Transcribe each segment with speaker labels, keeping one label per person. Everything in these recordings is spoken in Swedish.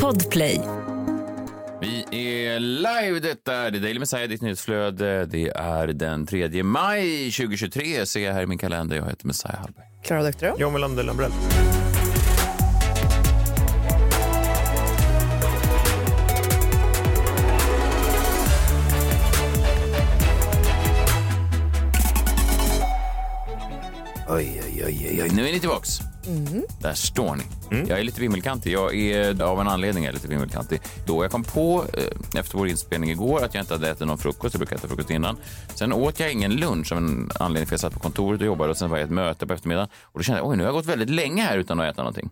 Speaker 1: Podplay.
Speaker 2: Vi är live, detta är The Daily Messiah, ditt nyhetsflöde. Det är den 3 maj 2023, ser jag här i min kalender. Jag heter Messiah Hallberg.
Speaker 3: Klara Doktorow.
Speaker 4: John Melander Lambrell.
Speaker 2: Oj, oj, oj, oj, oj. Nu är ni tillbaks. Där står ni. Jag är lite vimmelkantig. Jag är av en anledning är jag lite vimmelkantig. Då jag kom på eh, efter vår inspelning igår att jag inte hade ätit någon frukost. Jag brukar äta frukost innan. Sen åt jag ingen lunch av en anledning för jag satt på kontoret och jobbade och sen var jag i ett möte på eftermiddagen. Och då kände jag oj, nu har jag gått väldigt länge här utan att äta någonting.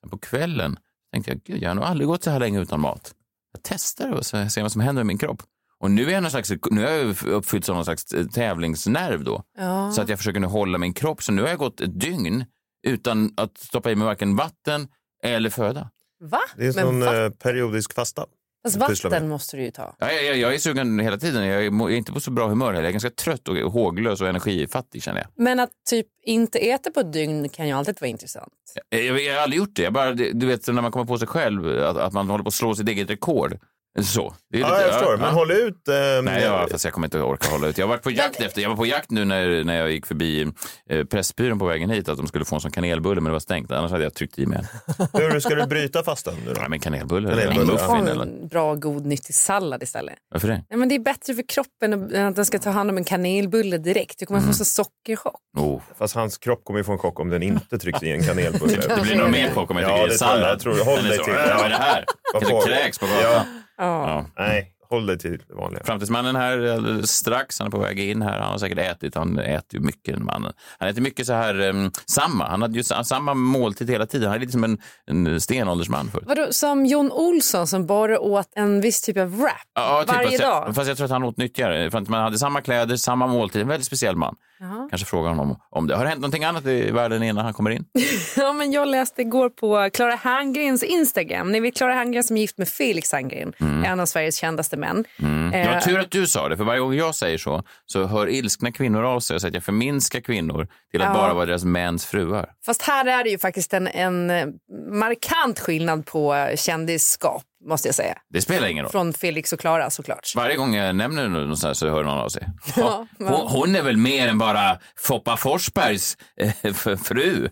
Speaker 2: Sen på kvällen tänkte jag gud, jag har nog aldrig gått så här länge utan mat. Jag testar och så ser vad som händer med min kropp. Och nu är jag, någon slags, nu är jag uppfylld av någon slags eh, tävlingsnerv då.
Speaker 3: Ja.
Speaker 2: Så att jag försöker nu hålla min kropp. Så nu har jag gått ett dygn utan att stoppa i mig varken vatten eller föda.
Speaker 3: Va?
Speaker 4: Det är en
Speaker 3: Men
Speaker 4: sån
Speaker 3: va?
Speaker 4: eh, periodisk fasta.
Speaker 3: Fast
Speaker 4: pysslar
Speaker 3: vatten
Speaker 4: med.
Speaker 3: måste du ju ta.
Speaker 2: Ja, Jag, jag, jag är sugen hela tiden. Jag är, må- jag är inte på så bra humör heller. Jag är ganska trött och håglös och energifattig känner jag.
Speaker 3: Men att typ inte äta på ett dygn kan ju alltid vara intressant.
Speaker 2: Jag, Eh, jag, jag har aldrig gjort det. Jag bara, du vet när man kommer på sig själv att, att man håller på att slå sitt eget rekord. Så. Det är
Speaker 4: Ja,
Speaker 2: lite-
Speaker 4: jag förstår. Men håll ut. eh,
Speaker 2: Nej, jag, fast jag kommer inte orka hålla ut. Jag var på jakt efter. Jag var på jakt nu när, när jag gick förbi eh, Pressbyrån på vägen hit att de skulle få en sån kanelbulle men det var stängt. Annars hade jag tryckt i mig en.
Speaker 4: Hur ska du bryta fastan nu då?
Speaker 2: Nej, men kanelbulle.
Speaker 4: Kanelbulle,
Speaker 2: eller
Speaker 4: ja.
Speaker 3: Ta
Speaker 2: muffin eller?
Speaker 3: en bra god nyttig sallad istället.
Speaker 2: Varför det?
Speaker 3: Nej, men det är bättre för kroppen än att den ska ta hand om en kanelbulle direkt. Du kommer
Speaker 4: Mm.
Speaker 3: få så sockerchock.
Speaker 2: Oh.
Speaker 4: Fast hans kropp kommer ju få en chock om den inte trycks i en kanelbulle.
Speaker 2: Det blir nog mer chock om jag
Speaker 4: Ja,
Speaker 2: tycker det
Speaker 4: det
Speaker 2: är
Speaker 4: tror
Speaker 2: sallad.
Speaker 4: jag. Jag tror det. Håll
Speaker 2: Eller
Speaker 4: dig
Speaker 2: så.
Speaker 4: till-
Speaker 2: Ja, Vad är det här?
Speaker 4: Vad
Speaker 2: Kanske
Speaker 4: får-
Speaker 2: kräks på
Speaker 4: Ja,
Speaker 2: gatan.
Speaker 3: Ja.
Speaker 2: Ja.
Speaker 4: nej, håll dig till det vanliga.
Speaker 2: Framtidsmannen här alldeles strax, han är på väg in här. Han har säkert ätit, han äter ju mycket den mannen. Han äter mycket så här, um, samma, han hade ju sa- samma måltid hela tiden. Han är lite som en, en stenåldersman förut.
Speaker 3: Vadå, som Jon Olsson som bara åt en viss typ av wrap
Speaker 2: Ja, typ,
Speaker 3: varje
Speaker 2: fast,
Speaker 3: dag?
Speaker 2: Jag, fast jag tror att han åt nyttigare. För att man hade samma kläder, samma måltid. En väldigt speciell man.
Speaker 3: Jaha.
Speaker 2: Kanske fråga honom om det. Har det hänt någonting annat i världen innan han kommer in?
Speaker 3: Eh. Ja, men jag läste igår på Clara Herngrens Instagram. Ni vet Clara Herngren som är gift med Felix Herngren,
Speaker 2: Mm.
Speaker 3: en av Sveriges kändaste män. Eh,
Speaker 2: Det var tur att du sa det, för varje gång jag säger så så hör ilskna kvinnor av sig och säger att jag förminskar kvinnor till att
Speaker 3: Ja.
Speaker 2: bara vara deras mäns fruar.
Speaker 3: Fast här är det ju faktiskt en, en eh, markant skillnad på eh, kändisskap, måste jag säga.
Speaker 2: Det spelar ingen roll.
Speaker 3: Från Felix och Clara såklart.
Speaker 2: Varje gång jag nämner någon sån här så hör någon av sig. Ja, hon, hon är väl mer än bara Foppa Forsbergs eh, f- fru?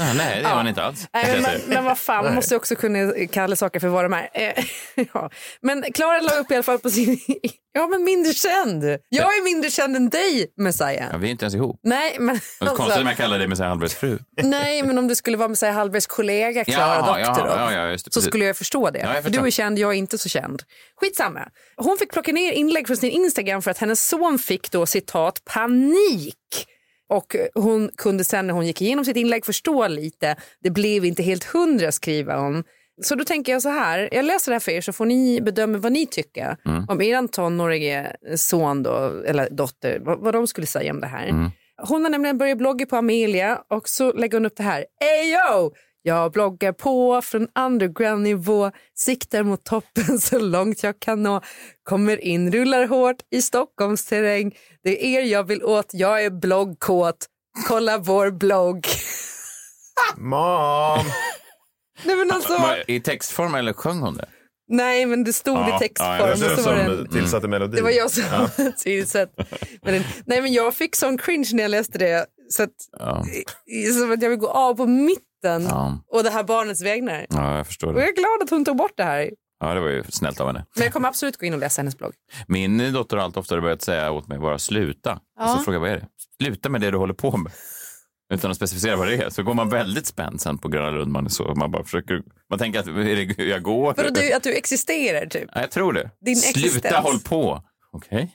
Speaker 2: Ja, nej, det är hon inte alls.
Speaker 3: Nej, men,
Speaker 2: Jag
Speaker 3: man,
Speaker 2: säger.
Speaker 3: men vad fan, man måste ju också kunna kalla saker för vad de är. Eh, ja. Men Clara la upp i alla fall på sin... Ja, men mindre känd. Jag är mindre känd än dig, Messiah.
Speaker 2: Ja, vi är inte ens ihop.
Speaker 3: Nej, men...
Speaker 2: Det är konstigt
Speaker 3: alltså-
Speaker 2: om jag kallar dig med Messiah Hallbergs fru.
Speaker 3: Nej, men om du skulle vara med säg, Hallbergs kollega Klara
Speaker 2: Jaha,
Speaker 3: Doktor
Speaker 2: jaha, ja, ja, just det,
Speaker 3: så
Speaker 2: precis.
Speaker 3: skulle jag förstå det.
Speaker 2: jag
Speaker 3: för
Speaker 2: förstår.
Speaker 3: du är känd, jag är inte så känd. Skitsamma. Hon fick plocka ner inlägg från sin Instagram för att hennes son fick då citat panik. Och hon kunde sen när hon gick igenom sitt inlägg förstå lite. Det blev inte helt hundra skriver hon. Så då tänker jag så här, jag läser det här för er så får ni bedöma vad ni tycker
Speaker 2: Mm.
Speaker 3: om er tonårige son då, eller dotter, vad, vad de skulle säga om det här.
Speaker 2: Mm.
Speaker 3: Hon har nämligen börjat blogga på Amelia och så lägger hon upp det här. Ejo! Jag bloggar på från underground-nivå, siktar mot toppen så långt jag kan nå. Kommer in, rullar hårt i Stockholms terräng. Det är er jag vill åt, jag är bloggkåt. Kolla vår blogg.
Speaker 4: Mom!
Speaker 3: Nej men, alltså,
Speaker 2: Var- I textform eller sjöng hon det?
Speaker 3: nej, men det stod
Speaker 2: Ja,
Speaker 3: i
Speaker 2: ja,
Speaker 3: textform.
Speaker 2: jag
Speaker 4: Det
Speaker 3: och
Speaker 4: var
Speaker 3: så var
Speaker 4: du
Speaker 3: det en-
Speaker 4: som
Speaker 2: Mm.
Speaker 4: tillsatte melodin.
Speaker 3: Det var jag som tillsatt. Men, den- nej, men jag fick sån cringe när jag läste det. Så att,
Speaker 2: Ja,
Speaker 3: som att jag vill gå av på mitten
Speaker 2: ja,
Speaker 3: och det här barnets vägnar.
Speaker 2: ja jag förstår
Speaker 3: Och
Speaker 2: det.
Speaker 3: jag är glad att hon tog bort det här.
Speaker 2: Ja, det var ju snällt av henne.
Speaker 3: Men jag kommer absolut gå in och läsa hennes blogg.
Speaker 2: Min dotter har allt oftare börjat säga åt mig bara sluta. Och så
Speaker 3: Ja.
Speaker 2: frågar jag vad är det? Sluta med det du håller på med. Utan att specificera vad det är. Så går man väldigt spänd sen på Gröna Lund. Man, är så, man bara försöker, man tänker att är det hur jag går?
Speaker 3: För att du, att du existerar typ.
Speaker 2: Ja, jag tror det.
Speaker 3: Din
Speaker 2: sluta
Speaker 3: existens.
Speaker 2: håll på. Okej.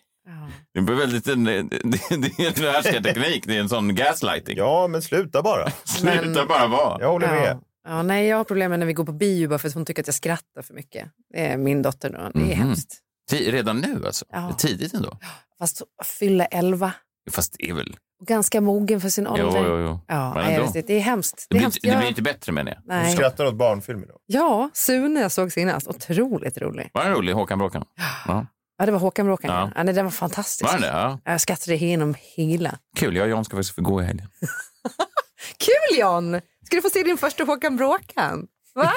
Speaker 2: Det är väldigt en, det, det är en härskarteknik. Det är en sån gaslighting.
Speaker 4: Ja, men sluta bara.
Speaker 2: Sluta
Speaker 3: Men-
Speaker 2: bara vara.
Speaker 4: Jag håller med.
Speaker 3: Ja. Ja, nej, jag har problem med när vi går på bio bara för att hon tycker att jag skrattar för mycket. Det är min dotter nu. Det är
Speaker 2: Mhm.
Speaker 3: hemskt.
Speaker 2: Ti- Redan nu alltså.
Speaker 3: Ja.
Speaker 2: Tidigt ändå.
Speaker 3: Fast fylla elva
Speaker 2: Fast det är väl...
Speaker 3: och ganska mogen för sin
Speaker 2: Jo,
Speaker 3: ålder.
Speaker 2: jo, jo.
Speaker 3: Ja, nej,
Speaker 2: Men
Speaker 3: jag
Speaker 2: ändå.
Speaker 3: vet inte. det är hemskt. Det är
Speaker 2: Det blir,
Speaker 3: hemskt.
Speaker 2: inte- det
Speaker 3: Jag-
Speaker 2: blir inte bättre menar jag.
Speaker 4: Du
Speaker 3: nej.
Speaker 4: skrattar åt barnfilm idag.
Speaker 3: Ja, Sune jag såg senast. Otroligt rolig.
Speaker 2: Var den rolig? Håkan Bråkan? Ja.
Speaker 3: Ja, det var Håkan Bråkan.
Speaker 2: Ja.
Speaker 3: Ja. Ja, nej, den var fantastisk.
Speaker 2: Var den det? Ja.
Speaker 3: Jag skrattade igenom hela.
Speaker 2: Kul, jag och Jan ska faktiskt få gå i helgen.
Speaker 3: Kul Jan! Ska du få se din första Håkan Bråkan? Va?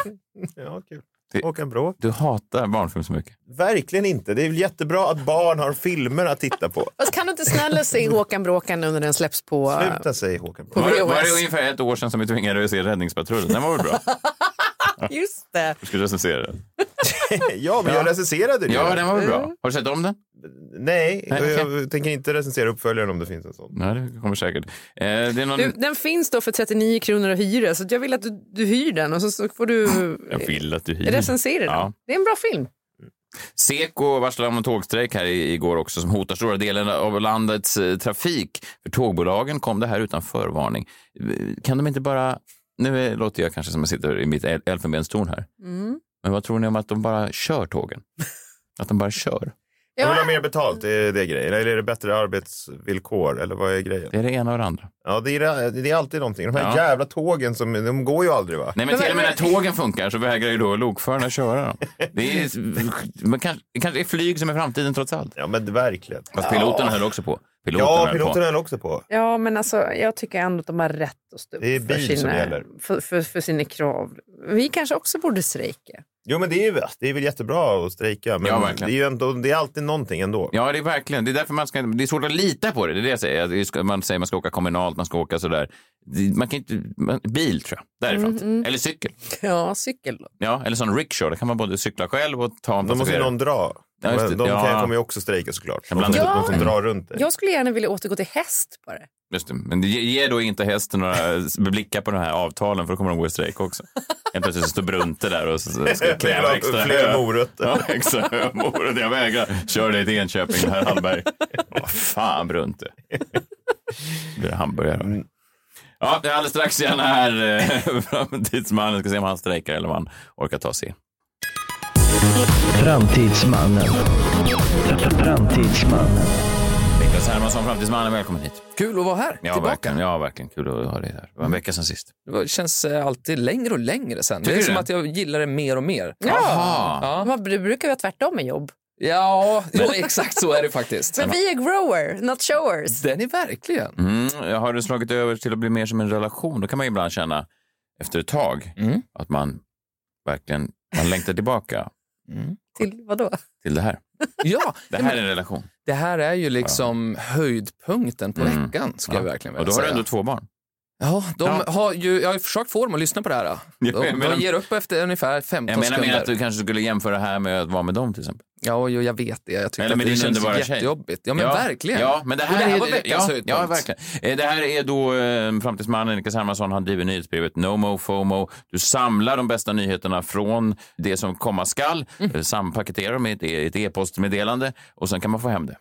Speaker 4: Ja, kul.
Speaker 2: Det-
Speaker 4: Håkan Bråk.
Speaker 2: Du hatar barnfilm så mycket.
Speaker 4: Verkligen inte. Det är väl jättebra att barn har filmer att titta på.
Speaker 3: Fast kan du inte snälla se Håkan Bråkan nu när den släpps på... eh,
Speaker 4: Sluta säga Håkan
Speaker 3: På
Speaker 4: Bråk.
Speaker 2: Var,
Speaker 3: VHS.
Speaker 2: var det ungefär ett år sedan som vi tvingade dig att se Räddningspatrullen? Den var väl bra?
Speaker 3: Just det.
Speaker 2: Du skulle recensera den.
Speaker 4: Ja, men jag recenserade det.
Speaker 2: Ja, den var väl bra. Har du sett om den?
Speaker 4: Nej,
Speaker 2: Nej,
Speaker 4: och jag tänker inte recensera uppföljaren om det finns en sån.
Speaker 2: Nej, det kommer säkert. Eh, det är någon...
Speaker 3: Du, den finns då för 39 kronor att hyra så att jag vill att du, du hyr den och så, så får du
Speaker 2: Jag vill att du hyr.
Speaker 3: recensera den.
Speaker 2: Ja.
Speaker 3: Det är en bra film.
Speaker 2: Seko varslade om en tågstrejk här i- igår också som hotar stora delen av landets eh, trafik. För tågbolagen kom det här utan förvarning. Eh, Kan de inte bara... Nu eh, låter jag kanske som jag sitter i mitt el- elfenbenstorn här.
Speaker 4: Mm.
Speaker 2: Men vad tror ni om att de bara kör tågen? Att de bara kör?
Speaker 4: Jag vill
Speaker 3: Ja,
Speaker 4: ha mer betalt, det är det grejen. Eller är det bättre arbetsvillkor? Eller vad är grejen?
Speaker 2: Det är det ena och det andra.
Speaker 4: Ja, det är, det är alltid någonting. De
Speaker 2: Ja.
Speaker 4: här jävla tågen, som, de går ju aldrig va?
Speaker 2: Nej, men
Speaker 3: Men-
Speaker 2: till och med när
Speaker 3: men-
Speaker 2: tågen funkar så vägrar ju då lokförarna köra dem. Det är, men kanske, kanske är flyg som är framtiden trots allt.
Speaker 4: Ja, men verkligen.
Speaker 2: Fast piloten höll också på. Piloten
Speaker 4: Ja,
Speaker 2: höll
Speaker 4: piloten
Speaker 2: på.
Speaker 4: höll också på.
Speaker 3: ja, men alltså jag tycker ändå att de har rätt att stå upp
Speaker 4: Det är
Speaker 3: för,
Speaker 4: bil som
Speaker 3: sina,
Speaker 4: gäller.
Speaker 3: för, för, för sina krav. Vi kanske också borde strejka.
Speaker 4: Jo, men det är, ju, det är väl jättebra att strejka. Men
Speaker 2: Ja,
Speaker 4: det,
Speaker 2: verkligen.
Speaker 4: är ju ändå, det är alltid någonting ändå.
Speaker 2: Ja, det är verkligen. Det är därför man ska, det är svårt att lita på det. Det är det jag säger. Det ska- Man säger man ska åka kommunalt, man ska åka sådär. Det- Man kan inte, man, bil tror jag. Där är framtiden. Eller cykel.
Speaker 3: Ja, cykel då.
Speaker 2: Ja, eller sån rickshaw. Där kan man både cykla själv och ta en
Speaker 4: De måste ju
Speaker 2: passagerare.
Speaker 4: någon dra.
Speaker 2: Ja, just det.
Speaker 4: Men de
Speaker 2: Ja.
Speaker 4: kan, kommer ju också strejka såklart.
Speaker 2: Jag
Speaker 4: De som,
Speaker 2: blandar
Speaker 4: de
Speaker 3: ihop
Speaker 4: som
Speaker 2: dem.
Speaker 4: drar runt det.
Speaker 3: Jag skulle gärna vilja återgå till häst bara.
Speaker 2: Just det. Men det ger då inte hästen några blickar på de här avtalen för då kommer de gå i strejk också. Helt plötsligt så står Brunte där och så- så ska kräva extra.
Speaker 4: Fler morötter.
Speaker 2: Ja, extra morot. Jag vägrar. Kör dig till Enköping, herr Hallberg. Vad fan, Brunte. Blir det hamburgare?
Speaker 5: Mm.
Speaker 2: Ja, det är alldeles strax igen här. eh, Framtidsmannen. Ska se om han strejkar eller om han orkar ta sig in.
Speaker 1: Framtidsmannen. Framtidsmannen.
Speaker 2: Niklas Hermansson, Framtidsmannen, välkommen hit.
Speaker 5: Kul att vara här,
Speaker 2: Ja,
Speaker 5: tillbaka.
Speaker 2: verkligen. Ja, verkligen. Kul att ha dig här. Det var en vecka sedan sist.
Speaker 5: Det var- känns eh, alltid längre och längre sen.
Speaker 2: Tycker
Speaker 5: det är
Speaker 2: du
Speaker 5: som
Speaker 2: det?
Speaker 5: att jag gillar det mer och mer.
Speaker 2: Jaha.
Speaker 5: Ja,
Speaker 3: Man, det brukar vara tvärtom med jobb.
Speaker 5: ja jo, exakt så är det faktiskt.
Speaker 3: Men vi är grower, not showers.
Speaker 5: Den är verkligen.
Speaker 2: Mm, har du slagit över till att bli mer som en relation? Då kan man ju ibland känna efter ett tag
Speaker 5: Mm.
Speaker 2: att man verkligen man längtar tillbaka
Speaker 3: Till vadå?
Speaker 2: till det här.
Speaker 5: Ja,
Speaker 2: Det här är en relation.
Speaker 5: det här är ju liksom höjdpunkten på
Speaker 2: Mm.
Speaker 5: veckan, ska
Speaker 2: Ja.
Speaker 5: jag verkligen vilja
Speaker 2: Och då har du
Speaker 5: säga.
Speaker 2: ändå två barn.
Speaker 5: Ja, de
Speaker 2: Ja.
Speaker 5: Har ju, jag har ju försökt få dem att lyssna på det här. De,
Speaker 2: Ja, jag menar-
Speaker 5: de ger upp efter ungefär 15
Speaker 2: Jag menar mer
Speaker 5: sekunder.
Speaker 2: att du kanske skulle jämföra det här med att vara med dem till exempel.
Speaker 5: Ja, jo, jag vet det. Jag tyckte
Speaker 2: Eller
Speaker 5: att
Speaker 2: med
Speaker 5: det
Speaker 2: din
Speaker 5: känns
Speaker 2: underbara tjej.
Speaker 5: jättejobbigt. Ja, men verkligen.
Speaker 2: Ja, men det här,
Speaker 5: Och det här
Speaker 2: är,
Speaker 5: var veckans
Speaker 2: ja,
Speaker 5: höjdpunkt.
Speaker 2: ja, verkligen. Eh, Det här är då eh, framtidsmannen Niklas Hermansson. Han driver nyhetsbrevet No Mo FOMO. Du samlar de bästa nyheterna från det som komma skall. Mm. Sampaketerar dem i ett e- ett e-postmeddelande och sen kan man få hem det.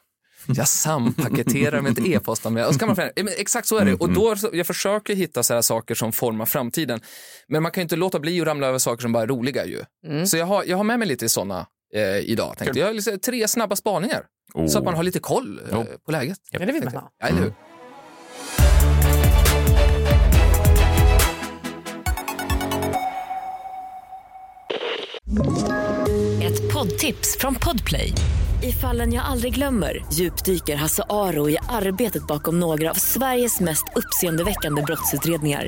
Speaker 5: Jag sampaketerar med ett e-postameddelande. Och så kan man förändra. Ja, men Exakt så är det.
Speaker 3: Mm-hmm.
Speaker 5: Och då, så- jag försöker hitta så här saker som formar framtiden. Men man kan ju inte låta bli att ramla över saker som bara är roliga. Ju.
Speaker 3: Mm.
Speaker 5: Så jag har, jag har med mig lite sådana eh, idag. Tänkte. Jag har liksom tre snabba spaningar. Så att man har lite koll eh, på läget.
Speaker 3: Oh. Ja, det vill man ha. Mm.
Speaker 5: Ja, eller hur?
Speaker 6: Ett poddtips från Podplay. I fallen jag aldrig glömmer djupdyker Hasse Aro i arbetet bakom några av Sveriges mest uppseendeväckande brottsutredningar.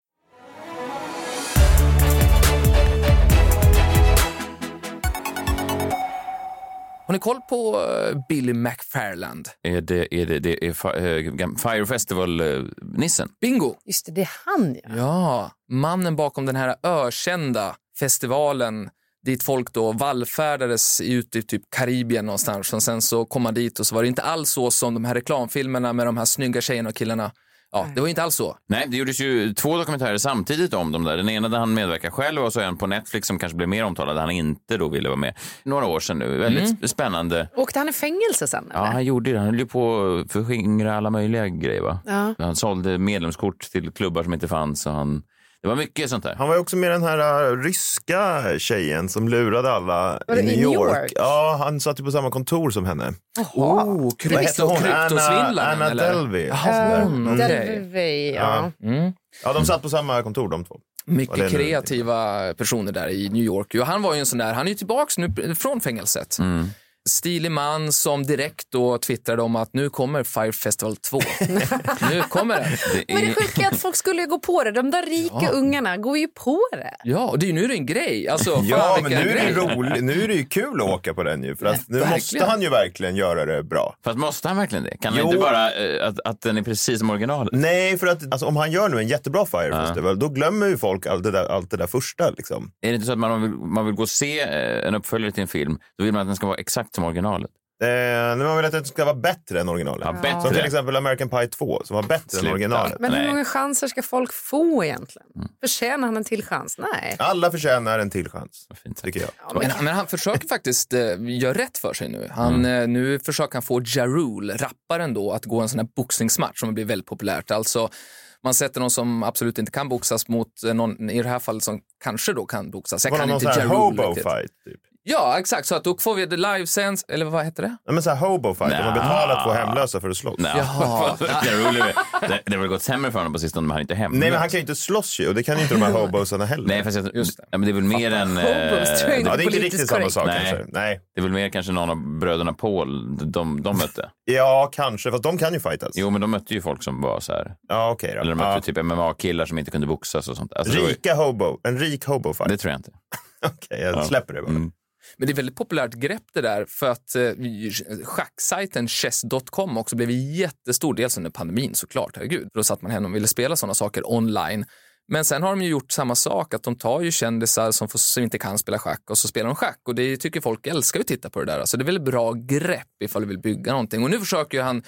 Speaker 5: Har ni koll på eh, Billy McFarland?
Speaker 2: Är Eh, det, är det, det är fi- eh, gam- Fire eh, Festival-nissen?
Speaker 5: Bingo!
Speaker 3: Just det, det är han ja.
Speaker 5: Ja, mannen bakom den här ökända festivalen dit folk då vallfärdades ut i typ Karibien någonstans och sen så kom man dit och så var det inte alls så som de här reklamfilmerna med de här snygga tjejerna och killarna. Ja, det var ju inte alls så.
Speaker 2: Nej, det gjordes ju två dokumentärer samtidigt om dem där. Den ena där han medverkar själv och så en på Netflix som kanske blev mer omtalad där han inte då ville vara med. Några år sedan nu. Väldigt
Speaker 3: Mm.
Speaker 2: sp- spännande.
Speaker 3: Åkte han i fängelse sen?
Speaker 2: Ja,
Speaker 3: eller?
Speaker 2: han gjorde det. Han höll ju på att förskingra alla möjliga grejer. Va?
Speaker 3: Ja.
Speaker 2: Han sålde medlemskort till klubbar som inte fanns. Och han... Det var mycket sånt där.
Speaker 4: Han var ju också med den här äh, ryska tjejen som lurade alla
Speaker 3: Var det
Speaker 4: i New
Speaker 3: i New
Speaker 4: York.
Speaker 3: York?
Speaker 4: Ja, han satt ju på samma kontor som henne.
Speaker 3: Jaha.
Speaker 5: krypto,
Speaker 4: Vad hette hon? Anna,
Speaker 5: Oh, kryptosvindlaren,
Speaker 4: Anna
Speaker 5: eller?
Speaker 4: Delvey.
Speaker 5: Jaha,
Speaker 4: Sådär.
Speaker 5: hon.
Speaker 4: Mm.
Speaker 5: Okej.
Speaker 3: Delvey, ja.
Speaker 4: Ja.
Speaker 5: Mm.
Speaker 4: Ja, de satt på samma kontor de två. Vad är
Speaker 5: Mycket
Speaker 4: det nu?
Speaker 5: kreativa personer där i New York. Och han var ju en sån där, han är ju tillbaks nu från fängelset.
Speaker 4: Mm.
Speaker 5: Stilig man som direkt då twittrade om att nu kommer Fire Festival 2. nu kommer den.
Speaker 2: Det
Speaker 3: Men det
Speaker 2: är...
Speaker 3: sjuka är att folk skulle ju gå på det. De där rika ungarna går ju på det.
Speaker 5: Ja, och det är ju nu är det en grej. Alltså, fan,
Speaker 4: Ja, men
Speaker 5: vilken
Speaker 4: nu är, det
Speaker 5: grej.
Speaker 4: ju rolig, nu är det ju kul att åka på den ju. För att nu måste
Speaker 5: verkligen.
Speaker 4: han ju verkligen göra det bra.
Speaker 2: Fast måste han verkligen det? Kan han
Speaker 4: Jo.
Speaker 2: inte bara eh, att, att den är precis som originalet?
Speaker 4: Nej, för att alltså, om han gör nu en jättebra Fire Festival, då glömmer ju folk allt det där, allt det där första. Liksom.
Speaker 2: Är det inte så att man vill, man vill gå och se eh, en uppföljare till en film, då vill man att den ska vara exakt som originalet?
Speaker 4: Eh, nu har man velat att det ska vara bättre än originalet.
Speaker 2: Ja, bättre.
Speaker 4: Som till exempel American Pie 2, som var bättre
Speaker 2: Sluta.
Speaker 4: än originalet.
Speaker 3: Men hur
Speaker 2: Nej.
Speaker 3: många chanser ska folk få egentligen? Förtjänar han en till chans? Nej.
Speaker 4: Alla förtjänar en till chans,
Speaker 2: Vad fint.
Speaker 4: tycker jag.
Speaker 5: Men, men han försöker faktiskt eh, göra rätt för sig nu. Han,
Speaker 4: Mm.
Speaker 5: eh, nu försöker han få Ja Rule, rapparen då, att gå en sån här boxningsmatch som blir väldigt populärt. Alltså, man sätter någon som absolut inte kan boxas mot eh, någon, i det här fallet, som kanske då kan boxas. Jag
Speaker 4: Var det
Speaker 5: kan
Speaker 4: någon
Speaker 5: inte
Speaker 4: sån här
Speaker 5: Ja Rule
Speaker 4: hobo
Speaker 5: riktigt.
Speaker 4: fight? Typ.
Speaker 5: Ja, exakt. Så att då får vi det livesänds, eller vad heter det?
Speaker 4: Nej, men så här hobo fight, där man
Speaker 2: Nja.
Speaker 4: betalar två hemlösa för att slåss. Nej.
Speaker 5: Jaha.
Speaker 2: Vilken rolig vi- det, det har väl gått sämre för honom på sistone, men han är inte hemma.
Speaker 4: men han kan ju inte slåss ju och det kan ju inte de här hobosarna heller.
Speaker 2: Nej, fast jag,
Speaker 5: Just det.
Speaker 2: det. Ja, men det är väl mer än... eh,
Speaker 3: Hobos, tror jag inte.
Speaker 4: ja, det är inte
Speaker 3: Politiskt
Speaker 4: riktigt samma
Speaker 3: korrekt.
Speaker 4: sak
Speaker 2: Nej.
Speaker 4: kanske. Nej.
Speaker 2: det är väl mer kanske någon av bröderna Paul de, de mötte.
Speaker 4: Ja, kanske. Fast de kan ju fightas.
Speaker 2: Jo, men de mötte ju folk som var så här.
Speaker 4: Ja, okej då.
Speaker 2: Eller de mötte
Speaker 4: ja.
Speaker 2: typ MMA-killar som inte kunde boxas och sånt. Alltså, det, var ju,
Speaker 4: Rika hobo. En rik hobo fight.
Speaker 2: det tror jag inte.
Speaker 4: Okej, jag
Speaker 2: Ja.
Speaker 4: släpper det bara.
Speaker 2: Mm.
Speaker 5: Men det är ett väldigt populärt grepp det där för att eh, schacksajten chess.com också blev jättestor, dels under pandemin såklart, herregud. Då satt man hemma och ville spela sådana saker online. Men sen har de ju gjort samma sak, att de tar ju kändisar som, får, som inte kan spela schack och så spelar de schack och det tycker folk älskar ju att titta på det där. Alltså det är väl ett bra grepp ifall du vill bygga någonting. Och nu försöker ju han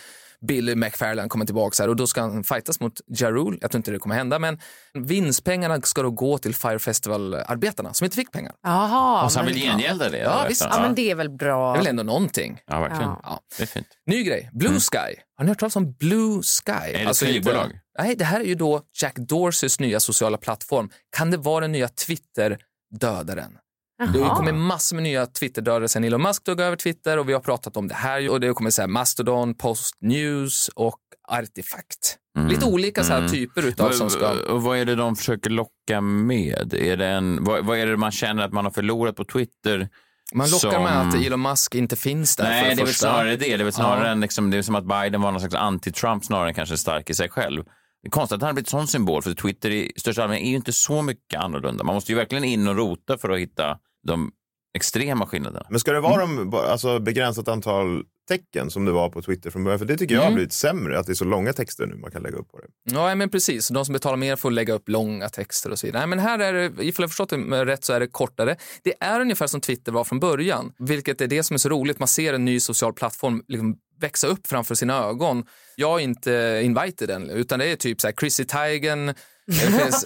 Speaker 5: Billy McFarland kommer tillbaka här och då ska han fightas mot Ja Rule. Jag tror inte det kommer hända, men vinstpengarna ska då gå till Fire Festival-arbetarna som inte fick pengar.
Speaker 3: Jaha,
Speaker 2: Och så han vill gengälda det.
Speaker 5: Ja,
Speaker 2: eller?
Speaker 5: visst.
Speaker 3: ja, men det är väl bra.
Speaker 5: Det är väl ändå någonting.
Speaker 2: Ja, verkligen.
Speaker 3: Ja.
Speaker 5: Ja.
Speaker 2: Det är fint.
Speaker 5: Ny grej, Blue Sky. Har ni hört talas om Blue Sky? Är
Speaker 2: Mm. ett flygbolag?
Speaker 5: nej, det här är ju då Jack Dorseys nya sociala plattform. Kan det vara den nya Twitter-dödaren? Det
Speaker 3: Jaha.
Speaker 5: kommer massor med nya Twitter-dödare sen Elon Musk tog över Twitter och vi har pratat om det här och det kommer så här Mastodon, Post News och Artifact. Lite olika så här typer utav som ska...
Speaker 2: Och Mm. vad är det de försöker locka med? Är det en, vad, vad är det man känner att man har förlorat på Twitter?
Speaker 5: Man lockar
Speaker 2: som-
Speaker 5: med att Elon Musk inte finns där för
Speaker 2: Nej, det är väl
Speaker 5: första.
Speaker 2: snarare det. Det är, väl snarare
Speaker 5: Ja.
Speaker 2: en, liksom, det är som att Biden var någon slags anti-Trump snarare än kanske stark i sig själv. Det är konstigt att han har blivit sån symbol, för Twitter i största allmänhet är ju inte så mycket annorlunda. Man måste ju verkligen in och rota för att hitta de extrema skillnaderna.
Speaker 4: Men ska det vara
Speaker 2: Mm.
Speaker 4: de, bara- alltså, begränsat antal tecken som det var på Twitter från början? För det tycker jag
Speaker 2: Mm.
Speaker 4: har blivit sämre, att det är så långa texter nu man kan lägga upp på det.
Speaker 5: Ja, men precis. De som betalar mer får lägga upp långa texter och så vidare. Nej, men här är det, ifall jag förstått det rätt så är det kortare. Det är ungefär som Twitter var från början, vilket är det som är så roligt. Man ser en ny social plattform liksom växa upp framför sina ögon. Jag är inte invited än, utan det är typ så här Chrissy Teigen. Det finns-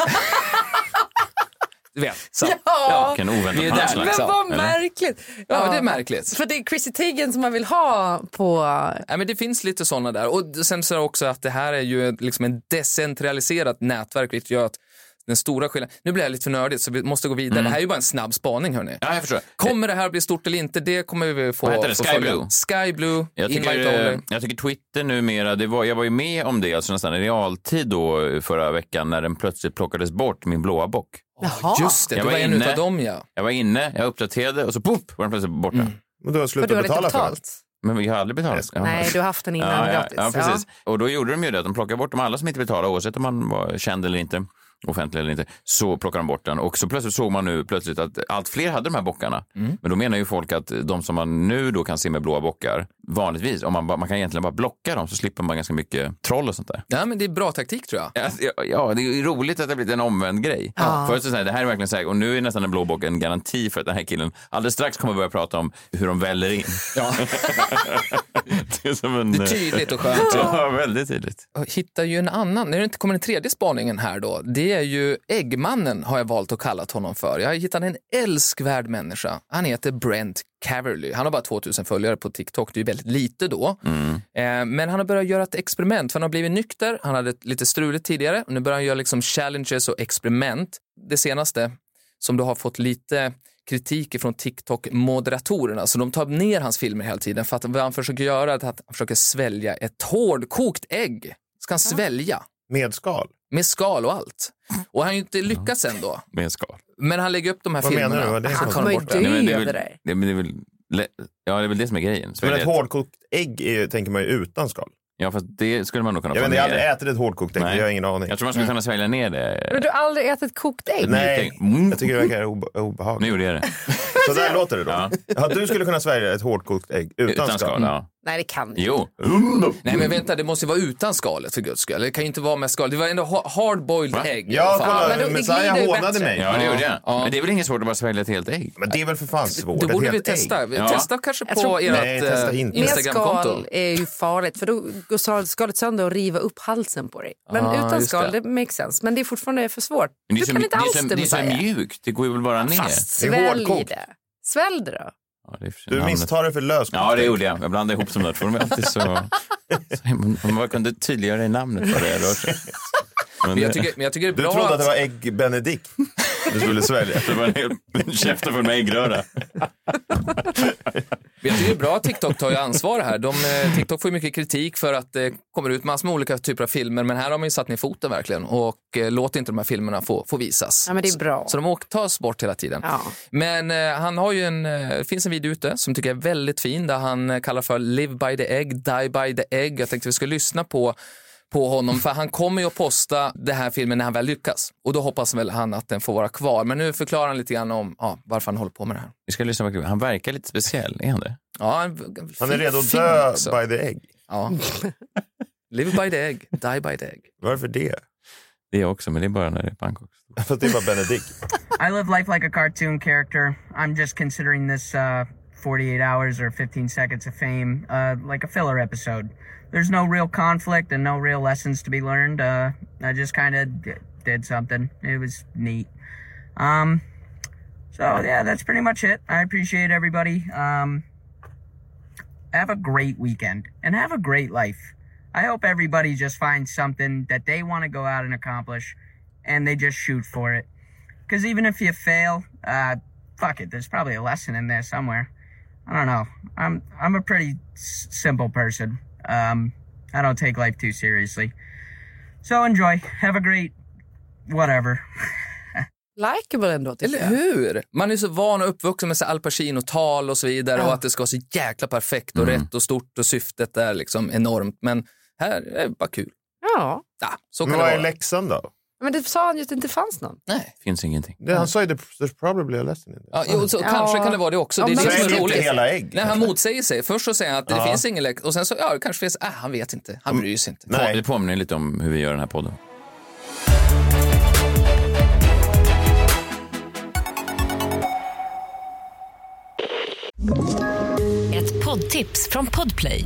Speaker 5: du vet, så.
Speaker 3: Ja.
Speaker 2: Vilken
Speaker 5: Vi
Speaker 2: oväntad
Speaker 5: är där,
Speaker 2: punchline.
Speaker 3: Men
Speaker 5: liksom.
Speaker 3: vad
Speaker 2: Eller?
Speaker 3: märkligt.
Speaker 5: Ja, det är märkligt.
Speaker 3: För det är Chrissy Teigen som man vill ha på...
Speaker 5: Nej, men det finns lite sådana där. Och sen så är det också att det här är ju ett- liksom en decentraliserat nätverk, vilket gör att den stora skillnaden... Nu blir jag lite för nördigt, så vi måste gå vidare. Det här är ju bara en snabb spaning, hörni.
Speaker 2: Mm. Ja, jag förstår.
Speaker 5: Kommer det här bli stort eller inte? Det kommer vi få
Speaker 2: Vad heter det?
Speaker 5: få
Speaker 2: Sky
Speaker 5: följa.
Speaker 2: Blue?
Speaker 5: Sky Blue,
Speaker 2: Jag
Speaker 5: Invite
Speaker 2: tycker, eh,
Speaker 5: Only.
Speaker 2: jag tycker Twitter numera, det var, jag var ju med om det alltså nästan i realtid då eh, förra veckan när den plötsligt plockades bort, min blåa bock.
Speaker 3: Jaha.
Speaker 5: Just det, du
Speaker 2: Jag
Speaker 5: var,
Speaker 2: var
Speaker 5: en
Speaker 2: inne.
Speaker 5: utav dem, ja.
Speaker 2: Jag var inne, jag uppdaterade och så poff var den plötsligt borta.
Speaker 4: Men då
Speaker 3: För
Speaker 4: har jag
Speaker 3: du har
Speaker 4: slutat
Speaker 3: inte
Speaker 4: betala för det.
Speaker 3: betalt?
Speaker 2: Men jag har aldrig betalat. Ja.
Speaker 3: Mm. Nej, du har haft den innan
Speaker 2: ja, ja,
Speaker 3: gratis.
Speaker 2: ja, precis. Och då gjorde de ju det att de plockade bort dem alla som inte betalade oavsett om man var känd eller inte offentlig eller inte, så plockade de bort den. Och så plötsligt såg man nu plötsligt att allt fler hade de här bockarna. Men då menar ju folk att de som man nu då kan se med blåa bockar, vanligtvis, om man, bara- man kan egentligen bara blocka dem så slipper man ganska mycket troll och sånt där.
Speaker 5: ja men det är bra taktik, tror jag.
Speaker 2: Alltså, ja, ja, det är ju roligt att det har blivit en omvänd grej. Förut så sa jag, det här är verkligen så här, och nu är nästan en blå bock en garanti för att den här killen alldeles strax kommer börja prata om hur de väller in.
Speaker 5: Ja.
Speaker 2: det är typ- som en...
Speaker 5: Det är tydligt och skönt.
Speaker 2: Ja, väldigt tydligt.
Speaker 5: Jag hittar ju en annan. Nu är det inte- kommer den tredje spaningen här då. Det det är ju Äggmannen har jag valt att kalla honom för. Jag har hittat en älskvärd människa. Han heter Brent Caverly. Han har bara 2000 följare på TikTok, det är ju väldigt lite då. Eh, Men han har börjat göra ett experiment, för han har blivit nykter, han hade ett lite struligt tidigare, nu börjar han göra liksom challenges och experiment. Det senaste som då har fått lite kritik från TikTok-moderatorerna, så de tar ner hans filmer hela tiden för att vad han försöker göra är att han försöker svälja ett hårdkokt ägg. Ska han svälja?
Speaker 4: Med skal?
Speaker 5: Med skal och allt. Och han har ju inte lyckats ändå.
Speaker 2: med en skal.
Speaker 5: Men han lägger upp de här
Speaker 4: Vad menar
Speaker 5: filmerna.
Speaker 4: du? Vad är det
Speaker 5: han
Speaker 4: för-
Speaker 5: kommer
Speaker 3: Vad är
Speaker 5: bort
Speaker 3: det?
Speaker 5: det.
Speaker 2: Nej, men det, är
Speaker 3: över
Speaker 2: väl,
Speaker 3: dig.
Speaker 2: det, men det är väl, le- ja, det är väl det som är grejen. Så
Speaker 4: Men
Speaker 2: det-
Speaker 4: ett hårdkokt ägg är, ju- tänker man ju utan skal.
Speaker 2: Ja, fast det skulle man nog kunna
Speaker 4: Jag,
Speaker 2: få
Speaker 4: vet, inte, jag har aldrig
Speaker 2: ner.
Speaker 4: ätit ett hårdkokt ägg,
Speaker 2: Nej.
Speaker 4: jag har ingen aning.
Speaker 2: Jag tror man skulle kunna svälja ner
Speaker 3: Men
Speaker 2: det.
Speaker 3: du har aldrig ätit kokt ägg?
Speaker 4: Nej,
Speaker 2: Mm.
Speaker 4: jag tycker det verkar obe-
Speaker 2: Nu
Speaker 4: obehagligt.
Speaker 2: gjorde jag det.
Speaker 4: Så där låter det då. Ja. du skulle kunna svälja ett hårdkokt ägg utan, Mm.
Speaker 2: Utan
Speaker 4: skal.
Speaker 2: skal, ja.
Speaker 3: Nej, det kan du
Speaker 2: Jo.
Speaker 5: Nej men vänta, det måste ju vara utan skalet för guds skull. Det kan ju inte vara med skal. Det var ändå ha- hard-boiled ägg.
Speaker 4: Ja,
Speaker 5: Fan.
Speaker 4: kolla,
Speaker 3: men då- det glider
Speaker 4: Messiah
Speaker 3: ju
Speaker 4: hånade
Speaker 3: bättre.
Speaker 4: mig.
Speaker 2: Ja, det gjorde jag.
Speaker 5: Ja.
Speaker 2: Men det är väl inget svårt att bara svälja ett helt ägg?
Speaker 4: Men det är väl för fan svårt?
Speaker 5: Då
Speaker 4: ett
Speaker 5: borde
Speaker 4: helt
Speaker 5: vi testa.
Speaker 4: ägg.
Speaker 2: Ja.
Speaker 5: Testa kanske på
Speaker 3: Jag tror-
Speaker 5: ert
Speaker 4: Nej, testa
Speaker 5: eh,
Speaker 4: inte.
Speaker 3: Med
Speaker 5: Instagramkonto.
Speaker 3: skal är ju farligt för då går skal- skalet sönder och river upp halsen på dig. Men
Speaker 5: Ah,
Speaker 3: utan
Speaker 5: just
Speaker 3: skal,
Speaker 5: det.
Speaker 3: det. makes sense. Men det är fortfarande för svårt.
Speaker 2: Men det är
Speaker 3: du
Speaker 2: så,
Speaker 3: kan
Speaker 2: mj-
Speaker 3: inte
Speaker 2: det är
Speaker 3: alls
Speaker 2: så,
Speaker 3: det,
Speaker 2: det är så
Speaker 3: Messiah.
Speaker 2: mjukt. Det går ju väl bara ner.
Speaker 3: Fast
Speaker 4: Det är
Speaker 3: svälj
Speaker 4: hårdkokt.
Speaker 3: det. Svälj det då.
Speaker 2: Ja, det är för sig
Speaker 4: Du
Speaker 2: namnet.
Speaker 4: misstar det för löskokt
Speaker 2: Ja, det
Speaker 4: ägg.
Speaker 2: gjorde jag. Jag blandade ihop som där. För de är alltid så... så om man bara kunde tydliggöra i namnet vad det är. då- Men
Speaker 5: Men jag
Speaker 2: det-
Speaker 5: tycker, men jag tycker det
Speaker 4: Du
Speaker 5: är bra
Speaker 4: trodde att
Speaker 5: att...
Speaker 4: det var ägg Benedikt du skulle svälja.
Speaker 2: Det var en hel käften full med äggröra.
Speaker 5: Jag tycker det är bra att TikTok tar ju ansvar här. De, eh, TikTok får ju mycket kritik för att det kommer ut massor med olika typer av filmer, men här har man ju satt ner foten verkligen och eh, låt inte de här filmerna få, få visas.
Speaker 3: Ja, men det är bra.
Speaker 5: Så de åk- tas bort hela tiden.
Speaker 3: Ja.
Speaker 5: Men eh, han har ju en, eh, det finns en video ute som tycker jag är väldigt fin där han eh, kallar för Live by the egg, die by the egg. Jag tänkte vi skulle lyssna på, på honom för han kommer ju att posta den här filmen när han väl lyckas. Och då hoppas väl han att den får vara kvar. Men nu förklarar han lite grann om ja, varför han håller på med det här.
Speaker 2: Vi ska lyssna på klippet. Han verkar lite speciell, är han det?
Speaker 5: Ja, en,
Speaker 4: Han är
Speaker 5: fin-
Speaker 4: redo att
Speaker 5: fin
Speaker 4: dö
Speaker 5: också.
Speaker 4: by the egg.
Speaker 5: Ja. Live by the egg, die by the egg.
Speaker 4: Varför det?
Speaker 2: Det är jag också, men det är bara när det är Bangkok.
Speaker 4: För att det var Benedikt.
Speaker 1: I live life like a cartoon character. I'm just considering this uh, 48 hours or 15 seconds of fame uh, like a filler episode. There's no real conflict and no real lessons to be learned. Uh, I just kind of d- did something. It was neat. Um, so, yeah, that's pretty much it. I appreciate everybody. Um, have a great weekend and have a great life. I hope everybody just finds something that they want to go out and accomplish and they just shoot for it. Because even if you fail, uh, fuck it. There's probably a lesson in there somewhere. I don't know. I'm I'm a pretty s- simple person. Um, I don't take life too seriously. So enjoy. Have a great whatever.
Speaker 3: Likeable ändå, tycker
Speaker 5: Eller
Speaker 3: jag.
Speaker 5: hur? Man är så van och uppvuxen med så Al Pacino-tal och så vidare och att det ska vara så jäkla perfekt och
Speaker 4: Mm.
Speaker 5: rätt och stort och syftet är liksom enormt. Men här är det bara kul.
Speaker 3: Ja.
Speaker 5: Ja, så kan
Speaker 4: Men
Speaker 5: det
Speaker 4: vad
Speaker 5: vara.
Speaker 4: är läxan då?
Speaker 3: Men det sa han ju att det inte fanns någon.
Speaker 5: Nej.
Speaker 2: Finns ingenting.
Speaker 4: Det- Han sa ju there's probably a lesson in
Speaker 5: Mm. Ja,
Speaker 4: this.
Speaker 5: jo, så
Speaker 3: Ja.
Speaker 5: Kanske kan det vara det också. Det är
Speaker 3: Ja, men-
Speaker 5: det som
Speaker 4: Svälj
Speaker 5: är
Speaker 4: inte
Speaker 5: roligt.
Speaker 4: hela ägg.
Speaker 5: Nej, han motsäger sig. Först så säger han att det finns ingen läx och sen så ja, det kanske finns. Äh, han vet inte. Han bryr sig inte.
Speaker 2: Det
Speaker 4: Mm. Nej.
Speaker 2: påminner lite om hur vi gör den här podden.
Speaker 6: Ett poddtips från Podplay.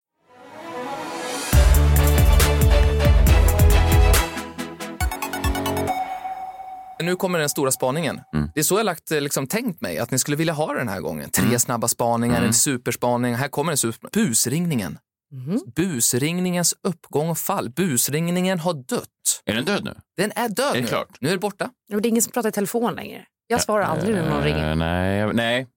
Speaker 5: Nu kommer den stora spaningen.
Speaker 2: Mm.
Speaker 5: Det är så jag lagt, eh, liksom, tänkt mig att ni skulle vilja ha den här gången. Tre
Speaker 2: Mm.
Speaker 5: snabba spaningar, en superspaning. Här kommer en super... Busringningen. Busringningens uppgång och fall. Busringningen har dött.
Speaker 2: Är den död nu?
Speaker 5: Den är död
Speaker 2: Är det
Speaker 5: nu.
Speaker 2: klart?
Speaker 5: Nu är det borta.
Speaker 3: Och det är ingen som pratar i telefon längre. Jag svarar aldrig när någon ringer.
Speaker 2: Eh, nej, jag- nej,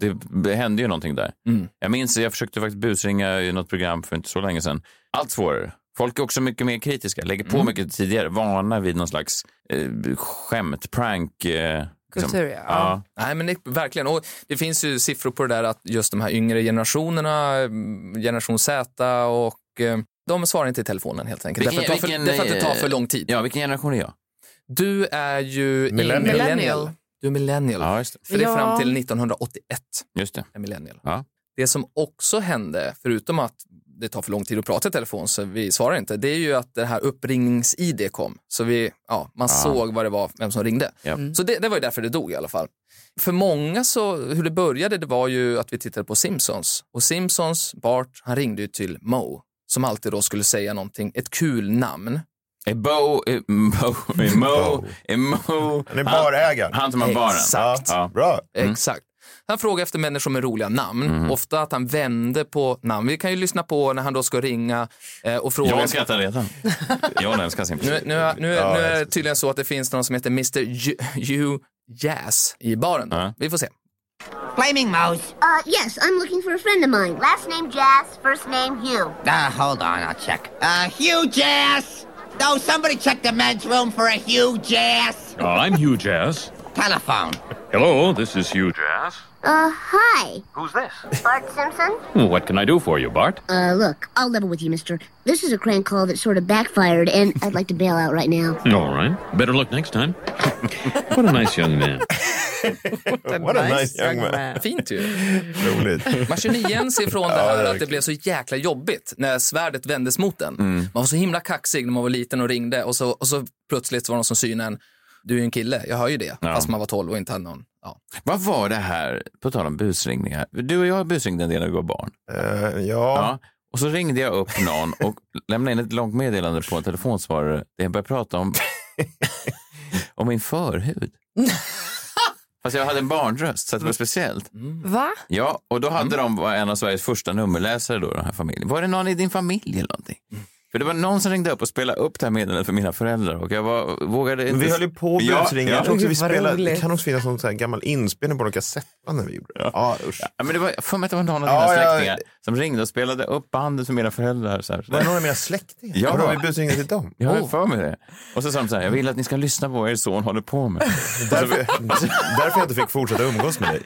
Speaker 2: det det hände ju någonting där.
Speaker 5: Mm.
Speaker 2: Jag minns, jag försökte faktiskt busringa i något program för inte så länge sedan. Allt svårare. Folk är också mycket mer kritiska, lägger på mycket tidigare, vana vid någon slags eh, skämt, prank. Eh,
Speaker 3: Kultur, ja.
Speaker 2: ja.
Speaker 5: Nej, men det, verkligen. Och det finns ju siffror på det där att just de här yngre generationerna, mm, generation Z och eh, de svarar inte i telefonen helt enkelt.
Speaker 2: Vilken-
Speaker 5: därför, att det tar för,
Speaker 2: vilken,
Speaker 5: därför att det tar
Speaker 2: eh,
Speaker 5: för lång tid.
Speaker 2: Ja, vilken generation är jag?
Speaker 5: Du är ju
Speaker 4: Millennial.
Speaker 5: millennial.
Speaker 3: Millennial.
Speaker 5: Du Du är millennial.
Speaker 2: Ja, just det.
Speaker 5: För det är fram
Speaker 3: Ja.
Speaker 5: till 1981
Speaker 2: Just det.
Speaker 5: är millennial.
Speaker 2: Ja.
Speaker 5: Det som också hände, förutom att det tar för lång tid att prata i telefon så vi svarar inte, det är ju att det här uppringnings-id kom. Så vi, ja, man såg vad det var, vem som ringde.
Speaker 2: Ah. Ja.
Speaker 5: Så det, det var ju därför det dog i alla fall. För många så, hur det började, det var ju att vi tittade på Simpsons. Och Simpsons, Bart, han ringde ju till Mo som alltid då skulle säga någonting, ett kul namn.
Speaker 2: Ebo, Ebo, Emo, Emo.
Speaker 4: Han är barägaren.
Speaker 2: Han som har baren.
Speaker 5: Exakt.
Speaker 2: Ja.
Speaker 4: Bra.
Speaker 5: Exakt. Han frågar efter människor med roliga namn, ofta att han vände på namn. Vi kan ju lyssna på när han då ska ringa eh, och fråga.
Speaker 2: Jag skrattar redan. John älskar sin
Speaker 5: Nu,
Speaker 2: fru.
Speaker 5: nu, nu, nu är det tydligen så att det finns någon som heter Mr. Ju- Hugh Jazz i baren. då.
Speaker 2: Ja.
Speaker 5: Vi får se.
Speaker 7: Flaming Mouse.
Speaker 8: Uh, yes, I'm looking for a friend of mine.
Speaker 7: Last name Jazz, first name Hugh.
Speaker 8: Uh, hold on, I'll check. Uh, huge ass! No, somebody check the men's room for a huge ass!
Speaker 9: I'm Hugh Jazz.
Speaker 8: Telephone.
Speaker 9: Hello, this is Hugh Jazz.
Speaker 8: Uh, hi.
Speaker 9: Who's this?
Speaker 7: Bart Simpson?
Speaker 9: What can I do for you, Bart?
Speaker 8: Uh, look, I'll level with you, mister. This is a crank call that sort of backfired, and I'd like to bail out right now.
Speaker 2: Mm.
Speaker 9: All right. Better luck next time. what a nice young man.
Speaker 4: What a nice young man.
Speaker 5: Fint ju.
Speaker 4: Roligt.
Speaker 5: Man känner igen sig från det här att det
Speaker 4: verkligen.
Speaker 5: blev så jäkla jobbigt när svärdet vändes mot en. Man var så himla kaxig när man var liten och ringde och så, och så plötsligt var någon som synade en. Du är ju en kille, jag hör ju det. Fast man var 12 och inte hade någon. Ja.
Speaker 2: Vad var det här, på tal om busringningar. Du och jag busringde en del när vi var barn.
Speaker 4: Eh,
Speaker 2: Ja. Och så ringde jag upp någon och lämnade in ett långt meddelande på en telefonsvarare där jag började prata om, om min förhud. Fast jag hade en barnröst, så det var speciellt.
Speaker 3: Va?
Speaker 2: Ja, och då hade
Speaker 4: Mm.
Speaker 2: de var en av Sveriges första nummerläsare då, den här familjen. Var det någon i din familj eller någonting? För det var någon som ringde upp och spelade upp det här meddelandet för mina föräldrar och jag var, vågade
Speaker 4: Men
Speaker 2: inte...
Speaker 4: vi höll ju på med
Speaker 2: Ja,
Speaker 4: busringar.
Speaker 2: ja.
Speaker 4: Jag tror också vi
Speaker 3: Gud, vad
Speaker 4: spelade,
Speaker 3: roligt.
Speaker 4: det kan också finnas någon sån här gammal inspelning på någon kassettband när vi gjorde det. Ja, usch.
Speaker 2: Ja, men det var, jag har för mig att det var någon av
Speaker 4: Ja,
Speaker 2: dina
Speaker 4: ja.
Speaker 2: släktingar som ringde och spelade upp bandet för mina föräldrar. Så här.
Speaker 4: Var det någon av mina släktingar?
Speaker 2: Ja.
Speaker 4: Vadå, vi busringde till dem?
Speaker 2: Jag har
Speaker 5: Oh.
Speaker 2: för mig det. Och så sa de så här, jag vill att ni ska lyssna på vad er son håller på med.
Speaker 4: Därför, därför jag inte fick fortsätta umgås med dig.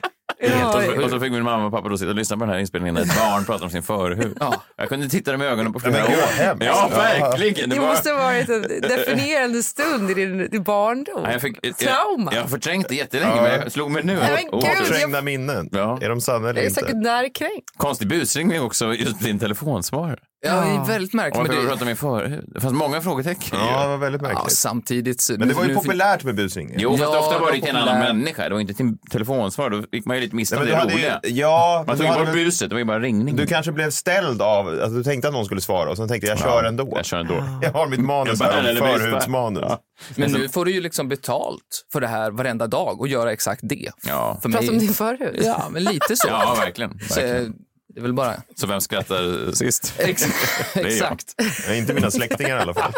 Speaker 2: och, så, och så fick min mamma och pappa då sitta och lyssna på den här inspelningen när ett barn pratar om sin förhud.
Speaker 5: Ja.
Speaker 2: Jag kunde titta dem i ögonen på
Speaker 4: men
Speaker 2: flera
Speaker 4: gud, vad
Speaker 2: år.
Speaker 4: hemskt.
Speaker 2: Ja,
Speaker 4: Ja.
Speaker 2: verkligen.
Speaker 3: Det
Speaker 2: var-
Speaker 3: måste ha varit en definierande stund i din, din barndom.
Speaker 2: Ja, jag, fick, jag,
Speaker 3: Trauma.
Speaker 2: jag har förträngt det jättelänge, men jag slog mig nu.
Speaker 3: Nej, men
Speaker 2: Åh,
Speaker 3: gud.
Speaker 2: förträngt.
Speaker 4: Trängda minnen.
Speaker 2: Ja.
Speaker 4: Är de sanna
Speaker 3: jag
Speaker 4: eller
Speaker 3: är säkert
Speaker 4: inte?
Speaker 3: närkränkt.
Speaker 2: Konstig busringning också, just din telefonsvarare.
Speaker 5: Ja, det är väldigt
Speaker 2: Och
Speaker 5: märkligt.
Speaker 2: varför
Speaker 5: Men det,
Speaker 2: pratar min förhud? Det fanns många frågetecken.
Speaker 4: Ja, det
Speaker 2: ju.
Speaker 4: var väldigt
Speaker 5: ja,
Speaker 4: märkligt.
Speaker 5: samtidigt. så-
Speaker 4: Men det
Speaker 5: nu-
Speaker 4: var ju
Speaker 5: nu fin-
Speaker 4: populärt med busringningar.
Speaker 2: Jo, fast
Speaker 5: Ja,
Speaker 2: ofta
Speaker 5: det var
Speaker 2: var det till en annan
Speaker 5: populär.
Speaker 2: människa. Det var inte till telefonsvarare. Då gick man ju lite miste
Speaker 4: Nej,
Speaker 2: om
Speaker 4: men
Speaker 2: det
Speaker 4: du hade ju-
Speaker 2: roliga.
Speaker 4: Ja,
Speaker 2: Man
Speaker 4: men
Speaker 2: tog
Speaker 4: du,
Speaker 2: ju
Speaker 4: hade
Speaker 2: bort
Speaker 4: väl,
Speaker 2: buset, det var ju bara ringning.
Speaker 4: du kanske blev ställd av, alltså, du tänkte att någon skulle svara och sen tänkte jag, jag kör ändå.
Speaker 2: Jag kör ändå.
Speaker 4: Jag har mitt manus
Speaker 2: Jag bär
Speaker 4: här,
Speaker 2: eller brist, va?
Speaker 4: förhudsmanus.
Speaker 2: Ja.
Speaker 5: Men nu får du ju liksom betalt för det här varenda dag och göra exakt det.
Speaker 2: Ja,
Speaker 5: För
Speaker 3: Prata om din
Speaker 5: mig.
Speaker 3: förhud.
Speaker 5: Ja, men lite så.
Speaker 2: ja verkligen.
Speaker 5: så
Speaker 2: verkligen.
Speaker 5: eh, det är väl bara...
Speaker 2: Så vem skrattar sist?
Speaker 5: Exakt.
Speaker 2: är jag.
Speaker 5: Exakt.
Speaker 4: Nej, inte mina släktingar i alla fall.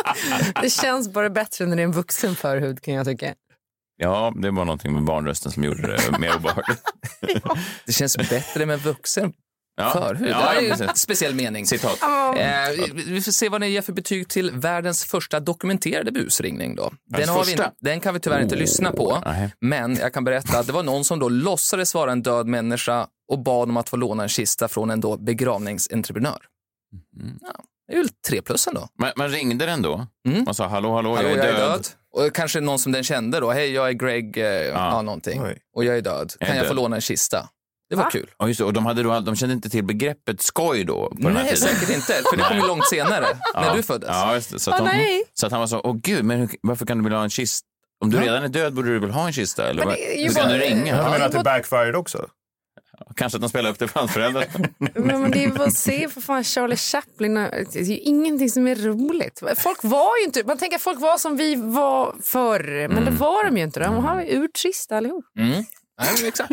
Speaker 3: Det känns bara bättre när det är en vuxen förhud kan jag tycka.
Speaker 2: Ja, det var någonting med barnrösten som gjorde det mer obehagligt.
Speaker 5: Det känns bättre med vuxen
Speaker 2: Ja.
Speaker 5: förhud.
Speaker 2: Ja,
Speaker 5: det här är ju
Speaker 2: precis.
Speaker 5: en speciell mening.
Speaker 2: Citat.
Speaker 5: Eh, vi- vi får se vad ni ger för betyg till världens första dokumenterade busringning. Då. Den,
Speaker 2: Världens
Speaker 5: har vi, inte-
Speaker 2: första?
Speaker 5: den kan vi tyvärr inte
Speaker 2: Oh,
Speaker 5: lyssna på,
Speaker 2: nej.
Speaker 5: men jag kan berätta att det var någon som då låtsades vara en död människa och bad om att få låna en kista från en då begravningsentreprenör.
Speaker 2: Mm.
Speaker 5: Ja, det är väl tre plus ändå.
Speaker 2: Man, man ringde den då.
Speaker 5: Mm.
Speaker 2: Man sa hallå, hallå,
Speaker 5: Hallå,
Speaker 2: jag, är död.
Speaker 5: Och kanske någon som den kände då. Hej, jag är Greg, eh, ja, någonting.
Speaker 4: Oj.
Speaker 5: Och jag är död. Kan
Speaker 2: är
Speaker 5: jag, få
Speaker 2: död.
Speaker 5: låna en kista? Det var kul.
Speaker 2: Ja, just det. Och de, hade då, all- de kände inte till begreppet skoj då på den här
Speaker 5: Nej,
Speaker 2: tiden.
Speaker 5: säkert inte. För det kom ju långt senare, när du föddes.
Speaker 2: Ja, just det. Så, att
Speaker 3: Åh,
Speaker 2: de,
Speaker 3: nej.
Speaker 2: så att han var så, åh gud, men hur, varför kan du vilja ha en kista? Om du redan är död borde du väl ha en kista? Eller vad?
Speaker 3: det är ju
Speaker 2: Hur kan
Speaker 3: bara-
Speaker 2: du ringa?
Speaker 4: Jag menar
Speaker 2: Ja.
Speaker 4: att det backfired också.
Speaker 2: Kanske att de spelar upp det för hans föräldrar.
Speaker 3: Men, men det är ju bara att se för fan Charlie Chaplin. och- Det är ju ingenting som är roligt. Folk var ju inte, man tänker att folk var som vi var förr, men det var de ju inte. De var ju urtrista allihop.
Speaker 5: Mm. Nej, men exakt.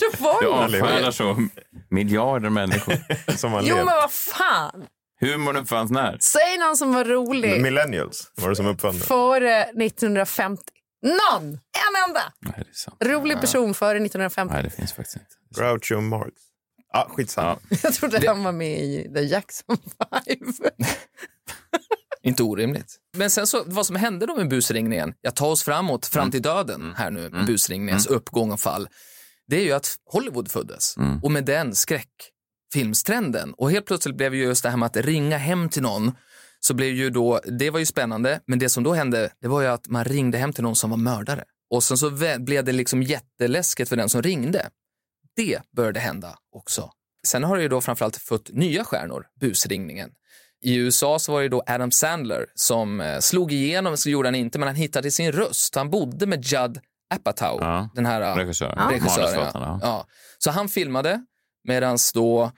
Speaker 3: Det var
Speaker 2: Du
Speaker 3: ju.
Speaker 2: avfärdar så miljarder människor.
Speaker 4: Som man
Speaker 3: Jo
Speaker 4: lever.
Speaker 3: men vad fan!
Speaker 2: Humorn uppfanns när?
Speaker 3: Säg någon som var rolig
Speaker 4: Millennials var det som uppfann det.
Speaker 3: före 1950. Någon! En enda!
Speaker 2: Nej, det är sant.
Speaker 3: Rolig person före 1950.
Speaker 2: Nej, det finns faktiskt inte.
Speaker 4: Groucho Marx. Ah, skitsamma.
Speaker 3: Jag trodde han var med i The Jackson 5.
Speaker 5: Inte orimligt. Men sen så, vad som hände då med busringningen, jag tar oss framåt, fram
Speaker 2: Mm.
Speaker 5: till döden här nu, med busringningens uppgång och fall, det är ju att Hollywood föddes och med den skräckfilmstrenden. Och helt plötsligt blev ju just det här med att ringa hem till någon, så blev ju då, det var ju spännande, men det som då hände, det var ju att man ringde hem till någon som var mördare. Och sen så vä- blev det liksom jätteläskigt för den som ringde. Det började hända också. Sen har det ju då framförallt fått nya stjärnor, busringningen. I USA så var det ju då Adam Sandler som eh, slog igenom, så gjorde han inte, men han hittade sin röst. Han bodde med Judd Apatow, den här eh,
Speaker 2: Regissören.
Speaker 5: regissören.
Speaker 2: Manusförfattaren,
Speaker 5: Ja.
Speaker 2: ja.
Speaker 5: Ja. Så han filmade medan då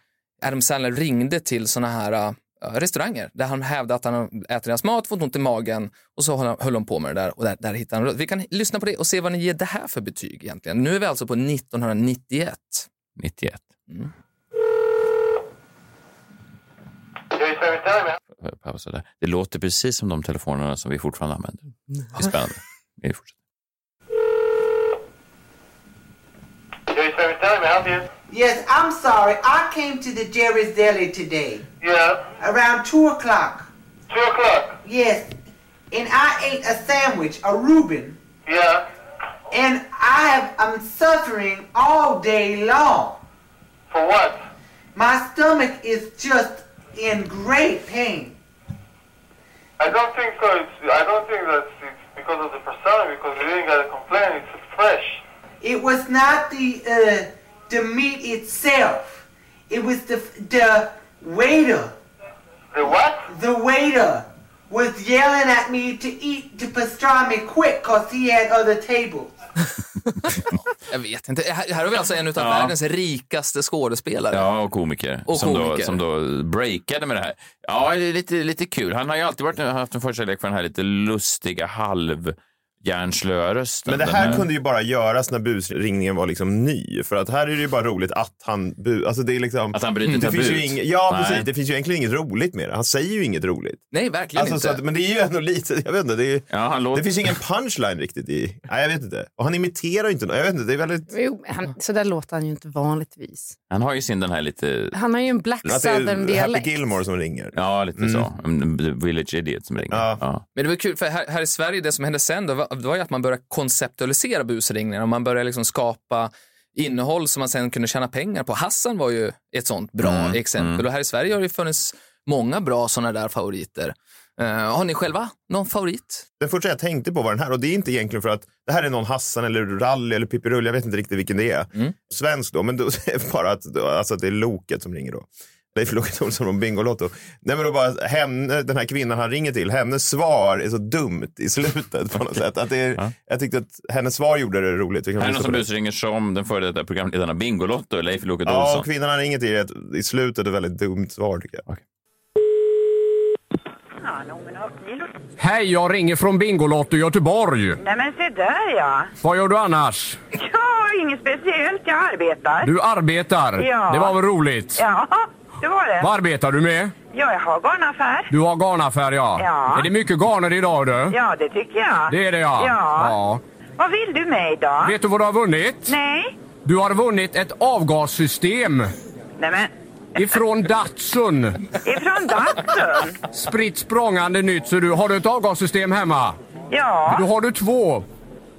Speaker 5: Adam Sandler ringde till såna här eh, restauranger där han hävdade att han äter deras mat, fått ont i magen och så höll han, höll han på med det där och där, där hittade han röst. Vi kan lyssna på det och se vad ni ger det här för betyg egentligen. Nu är vi alltså på 1991.
Speaker 2: 91. Pausa där. Det låter precis som de telefonerna som vi fortfarande använder. Det är spännande. Vi fortsätter.
Speaker 10: Yes, I'm sorry. I came to the Jerry's Deli today. Yeah. Around 2 o'clock. 2 o'clock? Yes. And I ate a sandwich, a Reuben. Yeah. And I have, I'm suffering all day long. For what? My stomach is just in great pain.
Speaker 11: I don't think so. It's, I don't think that it's because of the persona, because we didn't get a complaint. It's fresh.
Speaker 10: It was not the uh, the meat itself. It was the the waiter. The what? The waiter was yelling at me to eat the pastrami quick cause he had other tables.
Speaker 5: Jag vet inte. Här, här har vi alltså en av världens rikaste skådespelare.
Speaker 2: Ja, och komiker.
Speaker 5: Och
Speaker 2: som, Då,
Speaker 5: komiker.
Speaker 2: som då breakade med det här. Ja, det är lite, lite kul. Han har ju alltid varit, haft en förkärlek för den här lite lustiga halvhjärnslöa rösten.
Speaker 4: Men det
Speaker 2: Den
Speaker 4: här kunde ju bara göras när busringningen var liksom ny. För att här är det ju bara roligt att han... Bu- alltså det är liksom,
Speaker 2: Att han bryter
Speaker 4: det finns ju
Speaker 2: tabut.
Speaker 4: inget, Ja,
Speaker 2: Nej.
Speaker 4: precis. Det finns ju egentligen inget roligt med det. Han säger ju inget roligt.
Speaker 5: Nej, verkligen
Speaker 4: Alltså,
Speaker 5: inte.
Speaker 4: så att, men det är ju ändå lite... Jag vet inte. Det, är, det finns ju ingen punchline riktigt i... Nej, jag vet inte. Och han imiterar ju inte någon. Jag vet inte. Det är väldigt...
Speaker 3: Jo, men han, så där låter han ju inte vanligtvis.
Speaker 2: Han har ju sin den här lite...
Speaker 3: Han har ju en black southern-dialekt.
Speaker 2: Gilmore
Speaker 4: som ringer.
Speaker 2: Ja, lite så. Mm, The Village Idiot som ringer. Ja.
Speaker 5: Men det var kul, för här, här i Sverige, det som hände sen då, var, det var ju att man började konceptualisera busringningar och man började liksom skapa innehåll som man sen kunde tjäna pengar på. Hassan var ju ett sånt bra
Speaker 2: Mm,
Speaker 5: exempel
Speaker 2: mm.
Speaker 5: och här i Sverige har det ju funnits många bra sådana där favoriter. Eh, har ni själva någon favorit?
Speaker 4: Den första jag tänkte på var den här och det är inte egentligen för att det här är någon Hassan eller Rally eller Pippirull, jag vet inte riktigt vilken det är.
Speaker 2: Mm.
Speaker 4: Svensk då, men då, är det bara att, alltså att det är Loket som ringer då. Leif Loket Olsson från Bingolotto. Nej men då bara, henne, den här kvinnan han ringer till, hennes svar är så dumt i slutet på något sätt. Att det är, Jag tyckte att hennes svar gjorde det roligt. Vi kan
Speaker 2: Här är
Speaker 4: lyssna
Speaker 2: någon
Speaker 4: på
Speaker 2: som
Speaker 4: det.
Speaker 2: busringer som den före detta programledaren Bingolotto, Leif Loket
Speaker 4: Ja,
Speaker 2: Olsson.
Speaker 4: och kvinnan han ringer till är ett, i slutet ett väldigt dumt svar tycker jag.
Speaker 12: Hej, jag ringer från Bingolotto i Göteborg.
Speaker 13: Nej men se där ja.
Speaker 12: Vad gör du annars?
Speaker 13: Ja, inget speciellt. Jag arbetar.
Speaker 12: Du arbetar.
Speaker 13: Ja.
Speaker 12: Det var väl roligt?
Speaker 13: Ja, det var det.
Speaker 12: Vad arbetar du med?
Speaker 13: Ja, jag har garnaffär.
Speaker 12: Du har garnaffär, ja.
Speaker 13: Ja.
Speaker 12: Är det mycket garner idag, du?
Speaker 13: Ja, det tycker jag.
Speaker 12: Det är det, ja.
Speaker 13: Ja. Vad vill du med idag?
Speaker 12: Vet du vad du har vunnit?
Speaker 13: Nej.
Speaker 12: Du har vunnit ett avgassystem.
Speaker 13: Nej men.
Speaker 12: Ifrån Datsun.
Speaker 13: Ifrån Datsun?
Speaker 12: Spritt språngande nytt. Så du, har du ett avgassystem hemma?
Speaker 13: Ja.
Speaker 12: Då har du två.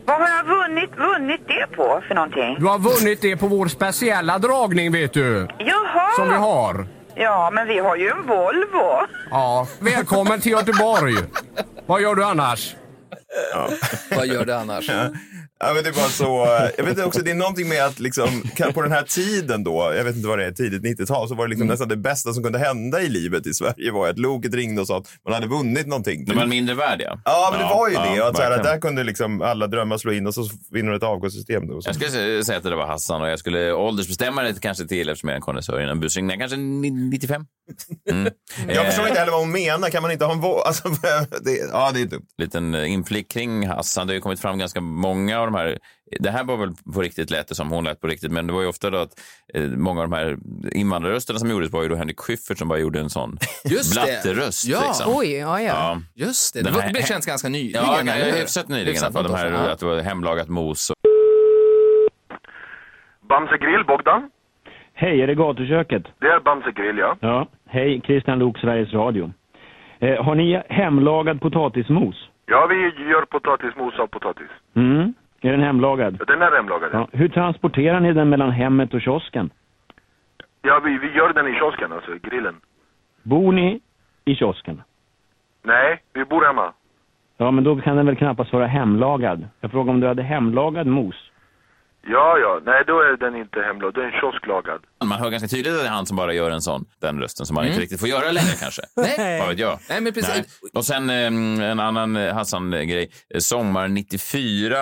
Speaker 13: Vad har jag vunnit, vunnit det på för någonting?
Speaker 12: Du har vunnit det på vår speciella dragning, vet du.
Speaker 13: Jaha.
Speaker 12: Som vi har.
Speaker 13: Ja, men vi har ju en Volvo.
Speaker 12: Ja. Välkommen till Göteborg. Vad gör du annars?
Speaker 5: Vad gör du annars?
Speaker 4: Ja, men det var så, eh, jag vet inte också, det är någonting med att liksom, kan- på den här tiden då, jag vet inte vad det är, tidigt 90-tal, så var det liksom nästan det bästa som kunde hända i livet i Sverige var att loket ringde och sa att man hade vunnit någonting.
Speaker 2: De var mindre värdiga.
Speaker 4: Ja, men det var ju det. Och att, så här, att
Speaker 2: verkligen.
Speaker 4: där kunde liksom alla drömmar slå in och så vinner du ett avgångssystem. Då, och så.
Speaker 2: Jag skulle sä- säga att det var Hassan och jag skulle åldersbestämma det kanske till eftersom jag är en konnässör innan busringningen. Kanske ni- 95? Mm.
Speaker 4: Jag förstår inte heller vad hon menar. Kan man inte ha en vå- alltså, det, Ja, det är dumt.
Speaker 2: liten eh, inflik kring Hassan. Det har ju kommit fram ganska många av de här. Det här var väl på riktigt lät det som hon lät på riktigt, men det var ju ofta då att eh, många av de här invandrarrösterna som gjordes var ju då Henrik Schyffert som bara gjorde en sån
Speaker 5: Just det.
Speaker 2: blatteröst.
Speaker 5: Ja.
Speaker 2: liksom.
Speaker 5: Oj, ja, ja. Just det. Det var- det känns ganska nyligen,
Speaker 2: Ja,
Speaker 5: eller
Speaker 2: nej,
Speaker 5: hur?
Speaker 2: hyfsat nyligen i alla
Speaker 5: Hyfsat
Speaker 2: fall. De här,
Speaker 5: nyligen, ja.
Speaker 2: Att det var hemlagat mos. Och...
Speaker 11: Bamse Grill, Bogdan.
Speaker 14: Hej, är det gatuköket?
Speaker 11: Det är Bamse Grill, ja.
Speaker 14: Ja. Hej, Christian Lok, Sveriges Radio. Eh, har ni hemlagad potatismos?
Speaker 11: Ja, vi gör potatismos av potatis.
Speaker 14: Mm. Är den hemlagad?
Speaker 11: Den är hemlagad. Ja,
Speaker 14: Ja. Hur transporterar ni den mellan hemmet och kiosken?
Speaker 11: ja vi, vi gör den i kiosken, alltså i grillen.
Speaker 14: Bor ni i kiosken?
Speaker 11: Nej, vi bor hemma.
Speaker 14: Ja, men då kan den väl knappast vara hemlagad. Jag frågade om du hade hemlagad mos.
Speaker 15: Ja, ja. Nej, då är den inte hemlagad. Den är kiosklagad.
Speaker 2: Man hör ganska tydligt att det är han som bara gör en sån, den rösten som man inte riktigt får göra längre kanske.
Speaker 5: Mm. Nej.
Speaker 2: Vad vet jag?
Speaker 5: Nej, men precis.
Speaker 2: Och sen eh, en annan eh, Hassan-grej. Eh, Sommar 94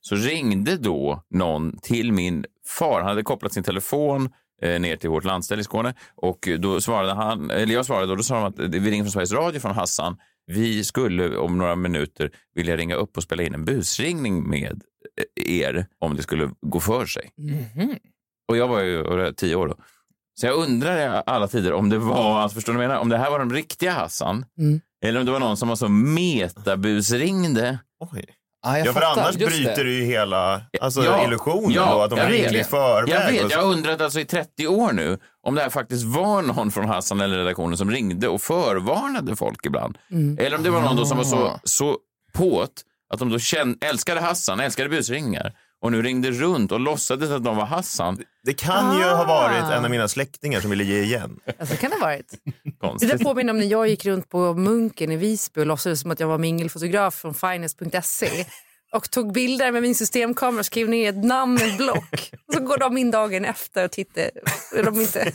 Speaker 2: så ringde då någon till min far. Han hade kopplat sin telefon eh, ner till vårt landställe i Skåne och då svarade han, eller jag svarade och då sa de att eh, vi ringer från Sveriges Radio från Hassan. Vi skulle om några minuter vilja ringa upp och spela in en busringning med eh, er om det skulle gå för sig.
Speaker 5: Mm-hmm.
Speaker 2: Och jag var ju eh, tio år då. Så jag undrar i alla tider om det var, alltså förstår ni vad jag menar, om det här var den riktiga Hassan.
Speaker 3: Mm.
Speaker 2: Eller om det var någon som var så metabusringde. Oj.
Speaker 5: Ah,
Speaker 4: ja, för annars bryter du ju hela alltså, illusionen då, att de
Speaker 2: jag
Speaker 4: ringer
Speaker 2: vet.
Speaker 4: i förväg.
Speaker 2: Jag
Speaker 4: och
Speaker 2: vet,
Speaker 4: så.
Speaker 2: jag har undrat alltså i 30 år nu om det här faktiskt var någon från Hassan eller redaktionen som ringde och förvarnade folk ibland.
Speaker 5: Mm.
Speaker 2: Eller om det var någon då som var så,
Speaker 5: Ah.
Speaker 2: så påt att de då känn, älskade Hassan, älskade busringningar och nu ringde runt och låtsades att de var Hassan.
Speaker 4: Det kan ju ha varit
Speaker 2: Ah.
Speaker 4: en av mina släktingar som ville ge igen.
Speaker 3: Alltså kan det ha varit. Det där påminner om när jag gick runt på Munken i Visby och låtsades som att jag var mingelfotograf från finance.se och tog bilder med min systemkamera och skrev ner ett namn i ett block. Och så går de in dagen efter och tittar. Är De inte...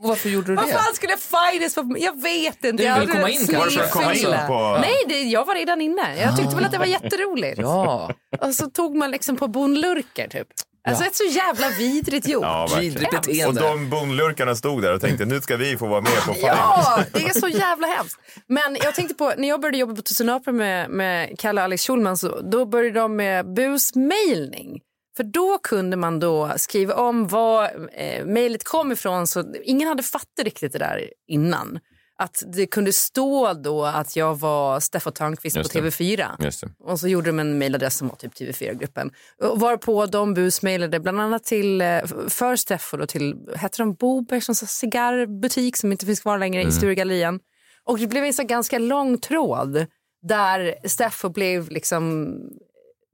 Speaker 5: Varför gjorde du
Speaker 3: Vad
Speaker 5: det?
Speaker 3: fan skulle Finance vara Jag vet inte.
Speaker 5: Du
Speaker 3: jag
Speaker 5: vill
Speaker 3: hade
Speaker 5: komma in kanske?
Speaker 3: sneak-
Speaker 5: Var det för att komma in
Speaker 3: fylla.
Speaker 5: på-
Speaker 3: Nej, det, jag var redan inne. Jag tyckte väl att det var jätteroligt.
Speaker 5: Ah. Ja.
Speaker 3: Och så tog man liksom på bonlurker typ. Alltså
Speaker 4: Ja.
Speaker 3: ett så jävla vidrigt gjort.
Speaker 4: Ja, verkligen. Och de bondlurkarna stod där och tänkte nu ska vi få vara med på fight.
Speaker 3: Ja, det är så jävla hemskt. Men jag tänkte på, när jag började jobba på Tusen Apor med, med Kalle och Alex Schulman, så, då började de med busmailning. För då kunde man då skriva om var eh, mejlet kom ifrån. Så ingen hade fattat riktigt det där innan. Att det kunde stå då att jag var Steffo Törnqvist på
Speaker 2: Just det.
Speaker 3: TV4.
Speaker 2: Just det.
Speaker 3: Och så gjorde de en mejladress som var typ TV4-gruppen. Och Varpå de busmejlade bland annat till, eh, för Steffo och till, hette de Boberg som sa cigarrbutik som inte finns kvar längre
Speaker 16: Mm.
Speaker 3: i Sturegallerian. Och det blev en så ganska lång tråd där Steffo blev liksom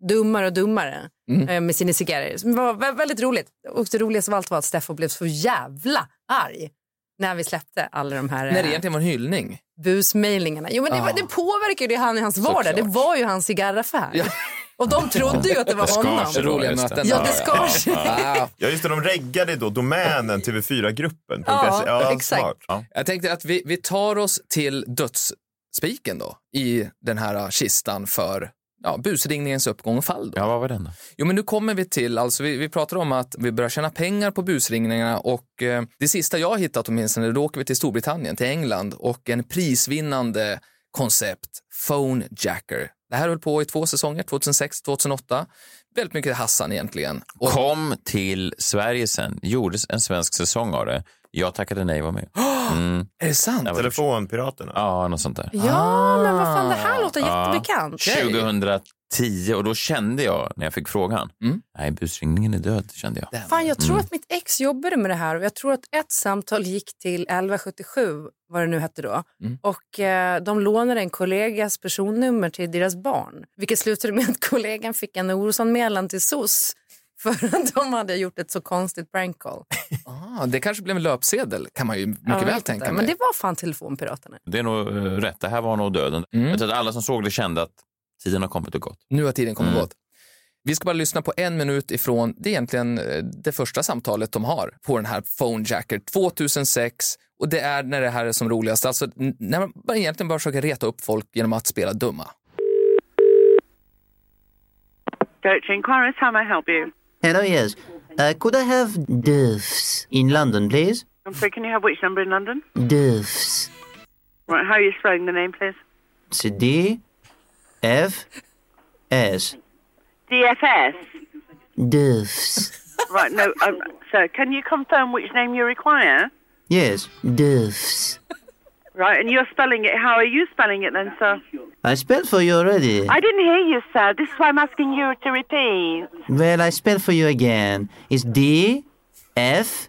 Speaker 3: dummare och dummare
Speaker 16: Mm.
Speaker 3: eh, med sina cigarrer. Det var vä- väldigt roligt. Och det roligaste av allt var att Steffo blev så jävla arg när vi släppte alla de här... eh,
Speaker 5: När det egentligen var en hyllning.
Speaker 3: busmejlingarna. Jo, men det, var-
Speaker 5: Ja.
Speaker 3: det påverkar ju det han i hans vardag.
Speaker 5: Såklart.
Speaker 3: Det var ju hans cigarraffär. Och de trodde ju att det var honom. Ja, det skar sig.
Speaker 4: Ja, just det, de reggade då domänen TV4-gruppen.
Speaker 5: Ja,
Speaker 3: exakt.
Speaker 4: Smart. Ja.
Speaker 5: Jag tänkte att vi, vi tar oss till dödsspiken då i den här kistan för ja, busringningens uppgång och fall. Då.
Speaker 2: Ja, vad var den då?
Speaker 5: Jo, men nu kommer vi till, alltså vi, vi pratar om att vi börjar tjäna pengar på busringningarna och eh, det sista jag har hittat åtminstone, då åker vi till Storbritannien, till England och en prisvinnande koncept, Phone Jacker. Det här höll på i två säsonger, 2006, 2008. Väldigt mycket Hassan egentligen.
Speaker 2: Kom till Sverige sen, gjordes en svensk säsong av det. Jag tackade nej och var med. Mm.
Speaker 5: Är det sant?
Speaker 4: Telefonpiraterna?
Speaker 2: Ja, något sånt där.
Speaker 3: Ja, men vad fan, det här
Speaker 5: Ah.
Speaker 3: låter
Speaker 2: Ja.
Speaker 3: jättebekant.
Speaker 2: 2010 och då kände jag när jag fick frågan, nej busringningen är död, kände jag.
Speaker 3: Fan, jag tror
Speaker 2: Mm.
Speaker 3: att mitt ex jobbade med det här och jag tror att ett samtal gick till 1177, vad det nu hette då.
Speaker 2: Mm.
Speaker 3: Och eh, de lånade en kollegas personnummer till deras barn. Vilket slutade med att kollegan fick en orosanmälan till SOS för att de hade gjort ett så konstigt prank call.
Speaker 5: Ah, det kanske blev en löpsedel, kan man ju mycket
Speaker 3: Jag vet
Speaker 5: väl
Speaker 3: inte,
Speaker 5: tänka mig.
Speaker 3: Men det var fan telefonpiraterna.
Speaker 2: Det är nog eh, rätt, det här var nog döden. Jag tror att alla som såg det kände att tiden har kommit och gått.
Speaker 5: Nu har tiden kommit
Speaker 2: Mm.
Speaker 5: och gått. Vi ska bara lyssna på en minut ifrån det är egentligen eh, det första samtalet de har på den här Phone Jacker 2006 och det är när det här är som roligast, alltså n- när man bara egentligen bara försöker reta upp folk genom att spela dumma.
Speaker 13: Deutsche Inquiries, how may I help you?
Speaker 17: Hello, yes. Uh, could I have Duffs in London, please?
Speaker 13: I'm sorry, can you have which number in London?
Speaker 17: Duffs.
Speaker 13: Right, how are you spelling the name, please?
Speaker 17: It's D F S.
Speaker 13: DFS.
Speaker 17: Duffs.
Speaker 13: right, no, um, sir, can you confirm which name you require?
Speaker 17: Yes, Duffs.
Speaker 13: Right, and you're spelling it. How are you spelling it then, sir?
Speaker 17: I spelled for you already.
Speaker 13: I didn't hear you, sir. This is why I'm asking you to repeat.
Speaker 17: Well, I spelled for you again. It's D F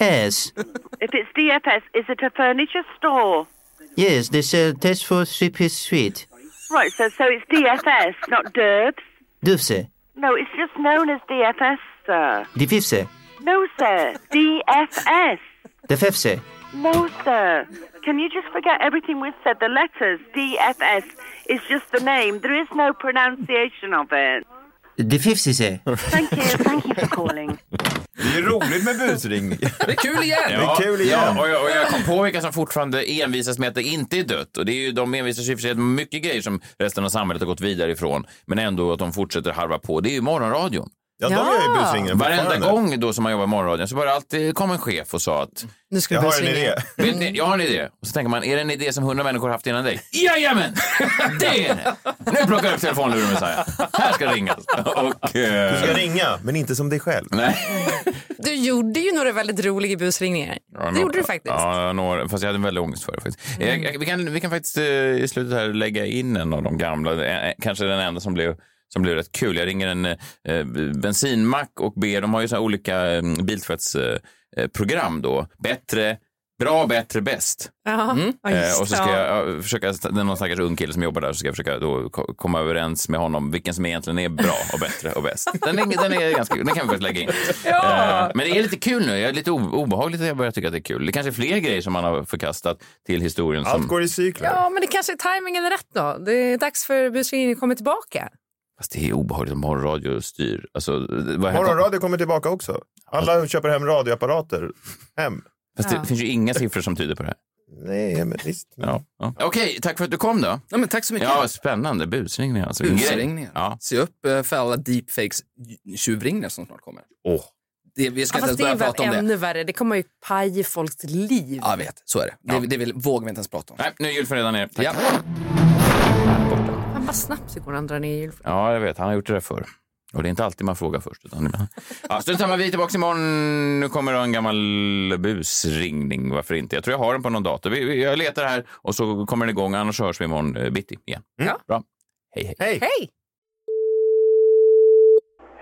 Speaker 17: S.
Speaker 13: If it's DFS, is it a furniture store?
Speaker 17: Yes, they sell test for three piece suite.
Speaker 13: Right, sir, so it's DFS, not Derbs.
Speaker 17: Duffse.
Speaker 13: No, it's just known as DFS, sir.
Speaker 17: Defifse.
Speaker 13: No, sir. DFS.
Speaker 17: Defefse.
Speaker 13: No, sir.
Speaker 16: Can you just forget everything we've said? The letters DFS is just the name. There is no pronunciation of it.
Speaker 17: The 50 say.
Speaker 16: Thank you. Thank you for calling.
Speaker 4: Det är roligt med busring.
Speaker 5: Det är kul igen!
Speaker 4: Det är kul igen.
Speaker 2: Ja, och, jag, och jag kom på vilka som fortfarande envisas med att det inte är dött. Och det är ju, de envisas ju i och för sig med mycket grejer som resten av samhället har gått vidare ifrån. Men ändå att de fortsätter harva på. Det är ju morgonradion.
Speaker 4: Ja, de gör ju busringningar
Speaker 2: Varenda
Speaker 4: fortfarande.
Speaker 2: gång då som man jobbar i morgonradion så var det alltid kom en chef och sa att
Speaker 3: nu
Speaker 4: ska du Jag har en busringa. idé.
Speaker 2: Vill ni, jag har en idé. Och så tänker man, är det en idé som hundra människor har haft innan dig? Jajamän! Det är det! Nu plockar jag upp telefonluren och säger, här ska det ringas. Och, eh,
Speaker 4: Du ska ringa, men inte som dig själv.
Speaker 2: Nej.
Speaker 3: Du gjorde ju några väldigt roliga busringningar. det gjorde du faktiskt. Mm.
Speaker 2: Ja, några, fast jag hade väldigt ångest för det. Faktiskt. Eh, Jag, vi, kan, vi kan faktiskt eh, i slutet här lägga in en av de gamla, eh, eh, kanske den enda som blev som blev rätt kul. Jag ringer en eh, bensinmack och ber, de har ju så här olika eh, biltvättsprogram eh, program då. Bättre, bra, bättre, bäst.
Speaker 3: Ja, Mm. ja, just
Speaker 2: Eh, och så ska
Speaker 3: det.
Speaker 2: jag eh, försöka, det är någon stackars ung kille som jobbar där, så ska jag försöka då ko- komma överens med honom vilken som egentligen är bra och bättre och bäst. Den, är, den, är ganska, den kan vi faktiskt lägga in.
Speaker 5: Ja.
Speaker 2: Eh, men det är lite kul nu, jag är lite o- obehagligt att jag börjar tycka att det är kul. Det kanske är fler grejer som man har förkastat till historien. Som...
Speaker 4: Allt går i cykler.
Speaker 3: Ja, men det kanske är tajmingen är rätt då. Det är dags för busringningen kommer tillbaka.
Speaker 2: Fast det är obehagligt om morgonradio styr. Alltså, det- vad händer-
Speaker 4: Morgonradio kommer tillbaka också. Alla
Speaker 2: Alltså-
Speaker 4: köper hem radioapparater hem.
Speaker 2: Fast det finns ju inga siffror som tyder på det här.
Speaker 4: Nej, men visst.
Speaker 2: Ja. Ja. Okej, tack för att du kom då.
Speaker 5: Ja, men tack så mycket.
Speaker 2: Ja, spännande. Busringningar. Alltså. Vilken grej.
Speaker 5: Busringningar.
Speaker 2: Ja.
Speaker 5: Mm. Se upp eh, för alla deepfakes-tjuvringningar som snart kommer.
Speaker 2: Åh.
Speaker 5: Det, vi
Speaker 3: Ja, fast
Speaker 5: ska inte ens
Speaker 3: det är
Speaker 5: börja
Speaker 3: väl
Speaker 5: prata om det.
Speaker 3: ännu värre. Det kommer ju paja folks liv.
Speaker 5: Ja, jag vet. Så är det. Det, det vill, vågar vi inte ens prata om.
Speaker 2: Nej, nu är Gylfen redan nere. Tack. Ja.
Speaker 3: Han bara snabbt så går han drar ner julfrun.
Speaker 2: Ja, jag vet. Han har gjort det där förr. Och det är inte alltid man frågar först. Utan ibland. ja, strunt samma, vi är tillbaka imorgon. Nu kommer det en gammal busringning. Varför inte? Jag tror jag har den på någon dator. Vi- vi- Jag letar här och så kommer den igång. Annars hörs vi imorgon eh, bitti igen. Bra. Hej, hej.
Speaker 4: Hej!
Speaker 3: Hej!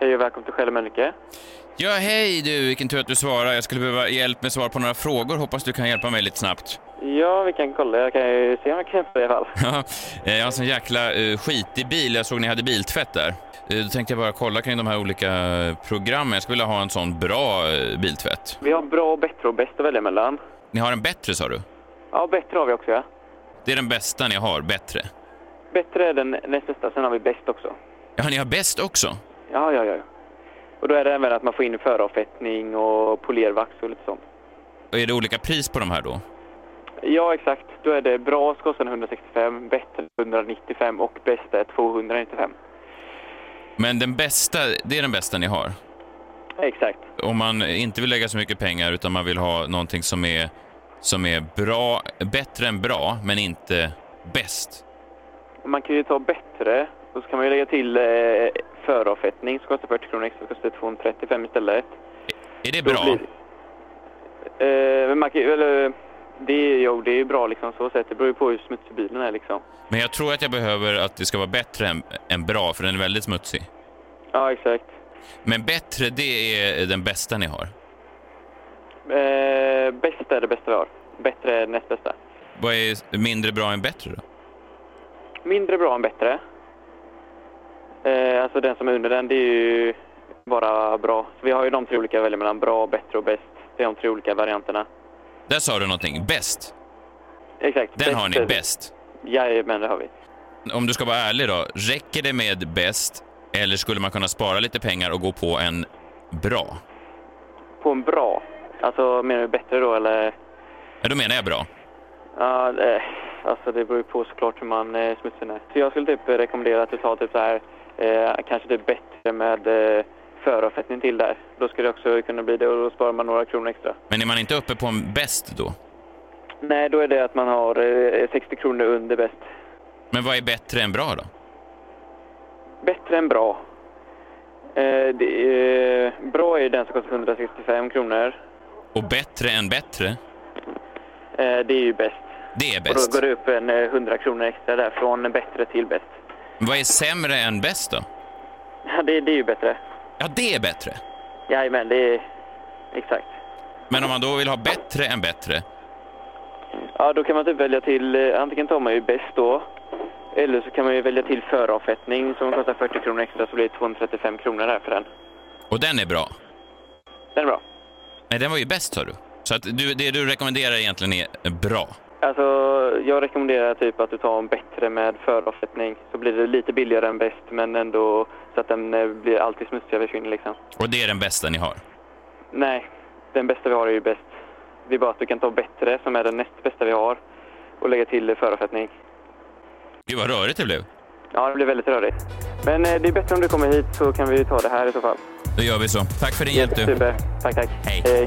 Speaker 9: Hej och välkommen till Själ och Mölnlycke.
Speaker 2: Ja, hej du. Vilken tur att du svarar. Jag skulle behöva hjälp med svar på några frågor. Hoppas du kan hjälpa mig lite snabbt.
Speaker 9: Ja, vi kan kolla. Jag kan ju se om jag kan hjälpa dig i alla fall.
Speaker 2: Ja, eh, jag har en sån jäkla eh, skitig bil. Jag såg ni hade biltvätt där. Eh, Då tänkte jag bara kolla kring de här olika eh, programmen. Jag skulle vilja ha en sån bra eh, biltvätt.
Speaker 9: Vi har bra, bättre och bäst att välja mellan.
Speaker 2: Ni har en bättre sa du?
Speaker 9: Ja, bättre har vi också, ja.
Speaker 2: Det är den bästa ni har, bättre.
Speaker 9: Bättre är den näst bästa, sen har vi bäst också.
Speaker 2: Ja, ni har bäst också?
Speaker 9: Ja, ja, ja. Och då är det även att man får in föravfettning och polervax och lite sånt.
Speaker 2: Och är det olika pris på de här då?
Speaker 9: Ja, exakt. Då är det bra så kostar den 165, bättre 195 och bäst är 295.
Speaker 2: Men den bästa, det är den bästa ni har?
Speaker 9: Exakt.
Speaker 2: Om man inte vill lägga så mycket pengar utan man vill ha någonting som är, som är bra, bättre än bra, men inte bäst.
Speaker 9: Och Man kan ju ta bättre och så kan man ju lägga till eh, föravfettning som kostar 40 kronor extra, så kostar det 235 istället.
Speaker 2: Är det
Speaker 9: Då
Speaker 2: bra?
Speaker 9: blir- Eh, men man kan ju, eller, det, är- jo, det är ju bra liksom så sett. Det beror ju på hur smutsig bilen är liksom.
Speaker 2: Men jag tror att jag behöver att det ska vara bättre än, än bra, för den är väldigt smutsig.
Speaker 9: Ja, exakt.
Speaker 2: Men bättre, det är den bästa ni har.
Speaker 9: Eh, bäst är det bästa vi har. Bättre är det näst bästa.
Speaker 2: Vad är mindre bra än bättre då?
Speaker 9: Mindre bra än bättre. Eh, alltså den som är under den, det är ju bara bra. Så vi har ju de tre olika att välja mellan. Bra, bättre och bäst. Det är de tre olika varianterna.
Speaker 2: Där sa du någonting. Bäst.
Speaker 9: Exakt.
Speaker 2: Den har ni.
Speaker 9: Bäst.
Speaker 2: Bäst.
Speaker 9: Jajamän, det har vi.
Speaker 2: Om du ska vara ärlig då, räcker det med bäst eller skulle man kunna spara lite pengar och gå på en bra?
Speaker 9: På en bra. Alltså menar du bättre då eller?
Speaker 2: Ja, då menar jag bra.
Speaker 9: Ja, eh, alltså det beror ju på såklart hur man eh, smutsar ner. Så jag skulle typ rekommendera att du tar typ så här, eh, kanske typ bättre med eh, föravfettning till där. Då skulle det också kunna bli det och då sparar man några kronor extra.
Speaker 2: Men är man inte uppe på en bäst då?
Speaker 9: Nej, då är det att man har eh, 60 kronor under bäst.
Speaker 2: Men vad är bättre än bra då?
Speaker 9: Bättre än bra. Eh, det, eh, bra är ju den som kostar 165 kronor.
Speaker 2: Och bättre än bättre?
Speaker 9: Eh, det är ju bäst.
Speaker 2: Det är
Speaker 9: Och
Speaker 2: bäst.
Speaker 9: då går det upp en eh, 100 kronor extra där från bättre till bäst.
Speaker 2: Men vad är sämre än bäst då?
Speaker 9: Ja, det, det är ju bättre.
Speaker 2: Ja, det är bättre.
Speaker 9: Jajamän, det är exakt.
Speaker 2: Men om man då vill ha bättre än bättre,
Speaker 9: Ja, då kan man typ välja till, eh, antingen tar man ju bäst då, eller så kan man ju välja till föravfettning som kostar 40 kronor extra så blir det 235 kronor här för den.
Speaker 2: och den är bra.
Speaker 9: Den är bra.
Speaker 2: Nej, den var ju bäst sa du. Så att du, det du rekommenderar egentligen är bra.
Speaker 9: Alltså, jag rekommenderar typ att du tar en bättre med föravsättning. Så blir det lite billigare än bäst, men ändå så att den eh, blir alltid smutsigare och försvinner liksom.
Speaker 2: Och det är den bästa ni har?
Speaker 9: Nej, den bästa vi har är ju bäst. Det är bara att du kan ta bättre, som är den näst bästa vi har, och lägga till eh, föravsättning.
Speaker 2: Gud vad rörigt det blev.
Speaker 9: Ja, det blir väldigt rörigt. Men eh, det är bättre om du kommer hit så kan vi ta det här i så fall.
Speaker 2: Då gör vi så. Tack för din hjälp du.
Speaker 9: Super. Tack, tack. Hej.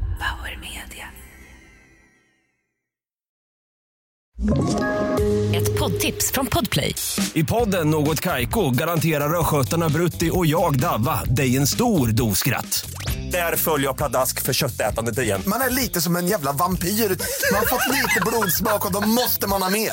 Speaker 6: ett poddtips från Podplay.
Speaker 18: I podden Något Kaiko garanterar östgötarna Brutti och jag, Davva, dig en stor dos skratt. Där följer jag pladask för köttätandet igen.
Speaker 19: Man är lite som en jävla vampyr. Man har fått lite blodsmak och då måste man ha mer.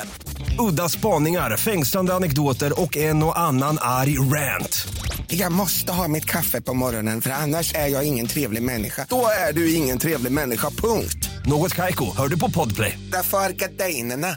Speaker 18: Udda spaningar, fängslande anekdoter och en och annan arg rant.
Speaker 19: Jag måste ha mitt kaffe på morgonen för annars är jag ingen trevlig människa. Då är du ingen trevlig människa, punkt.
Speaker 18: Något Kaiko, hör du på podplay.
Speaker 19: Därför arkadeinerna.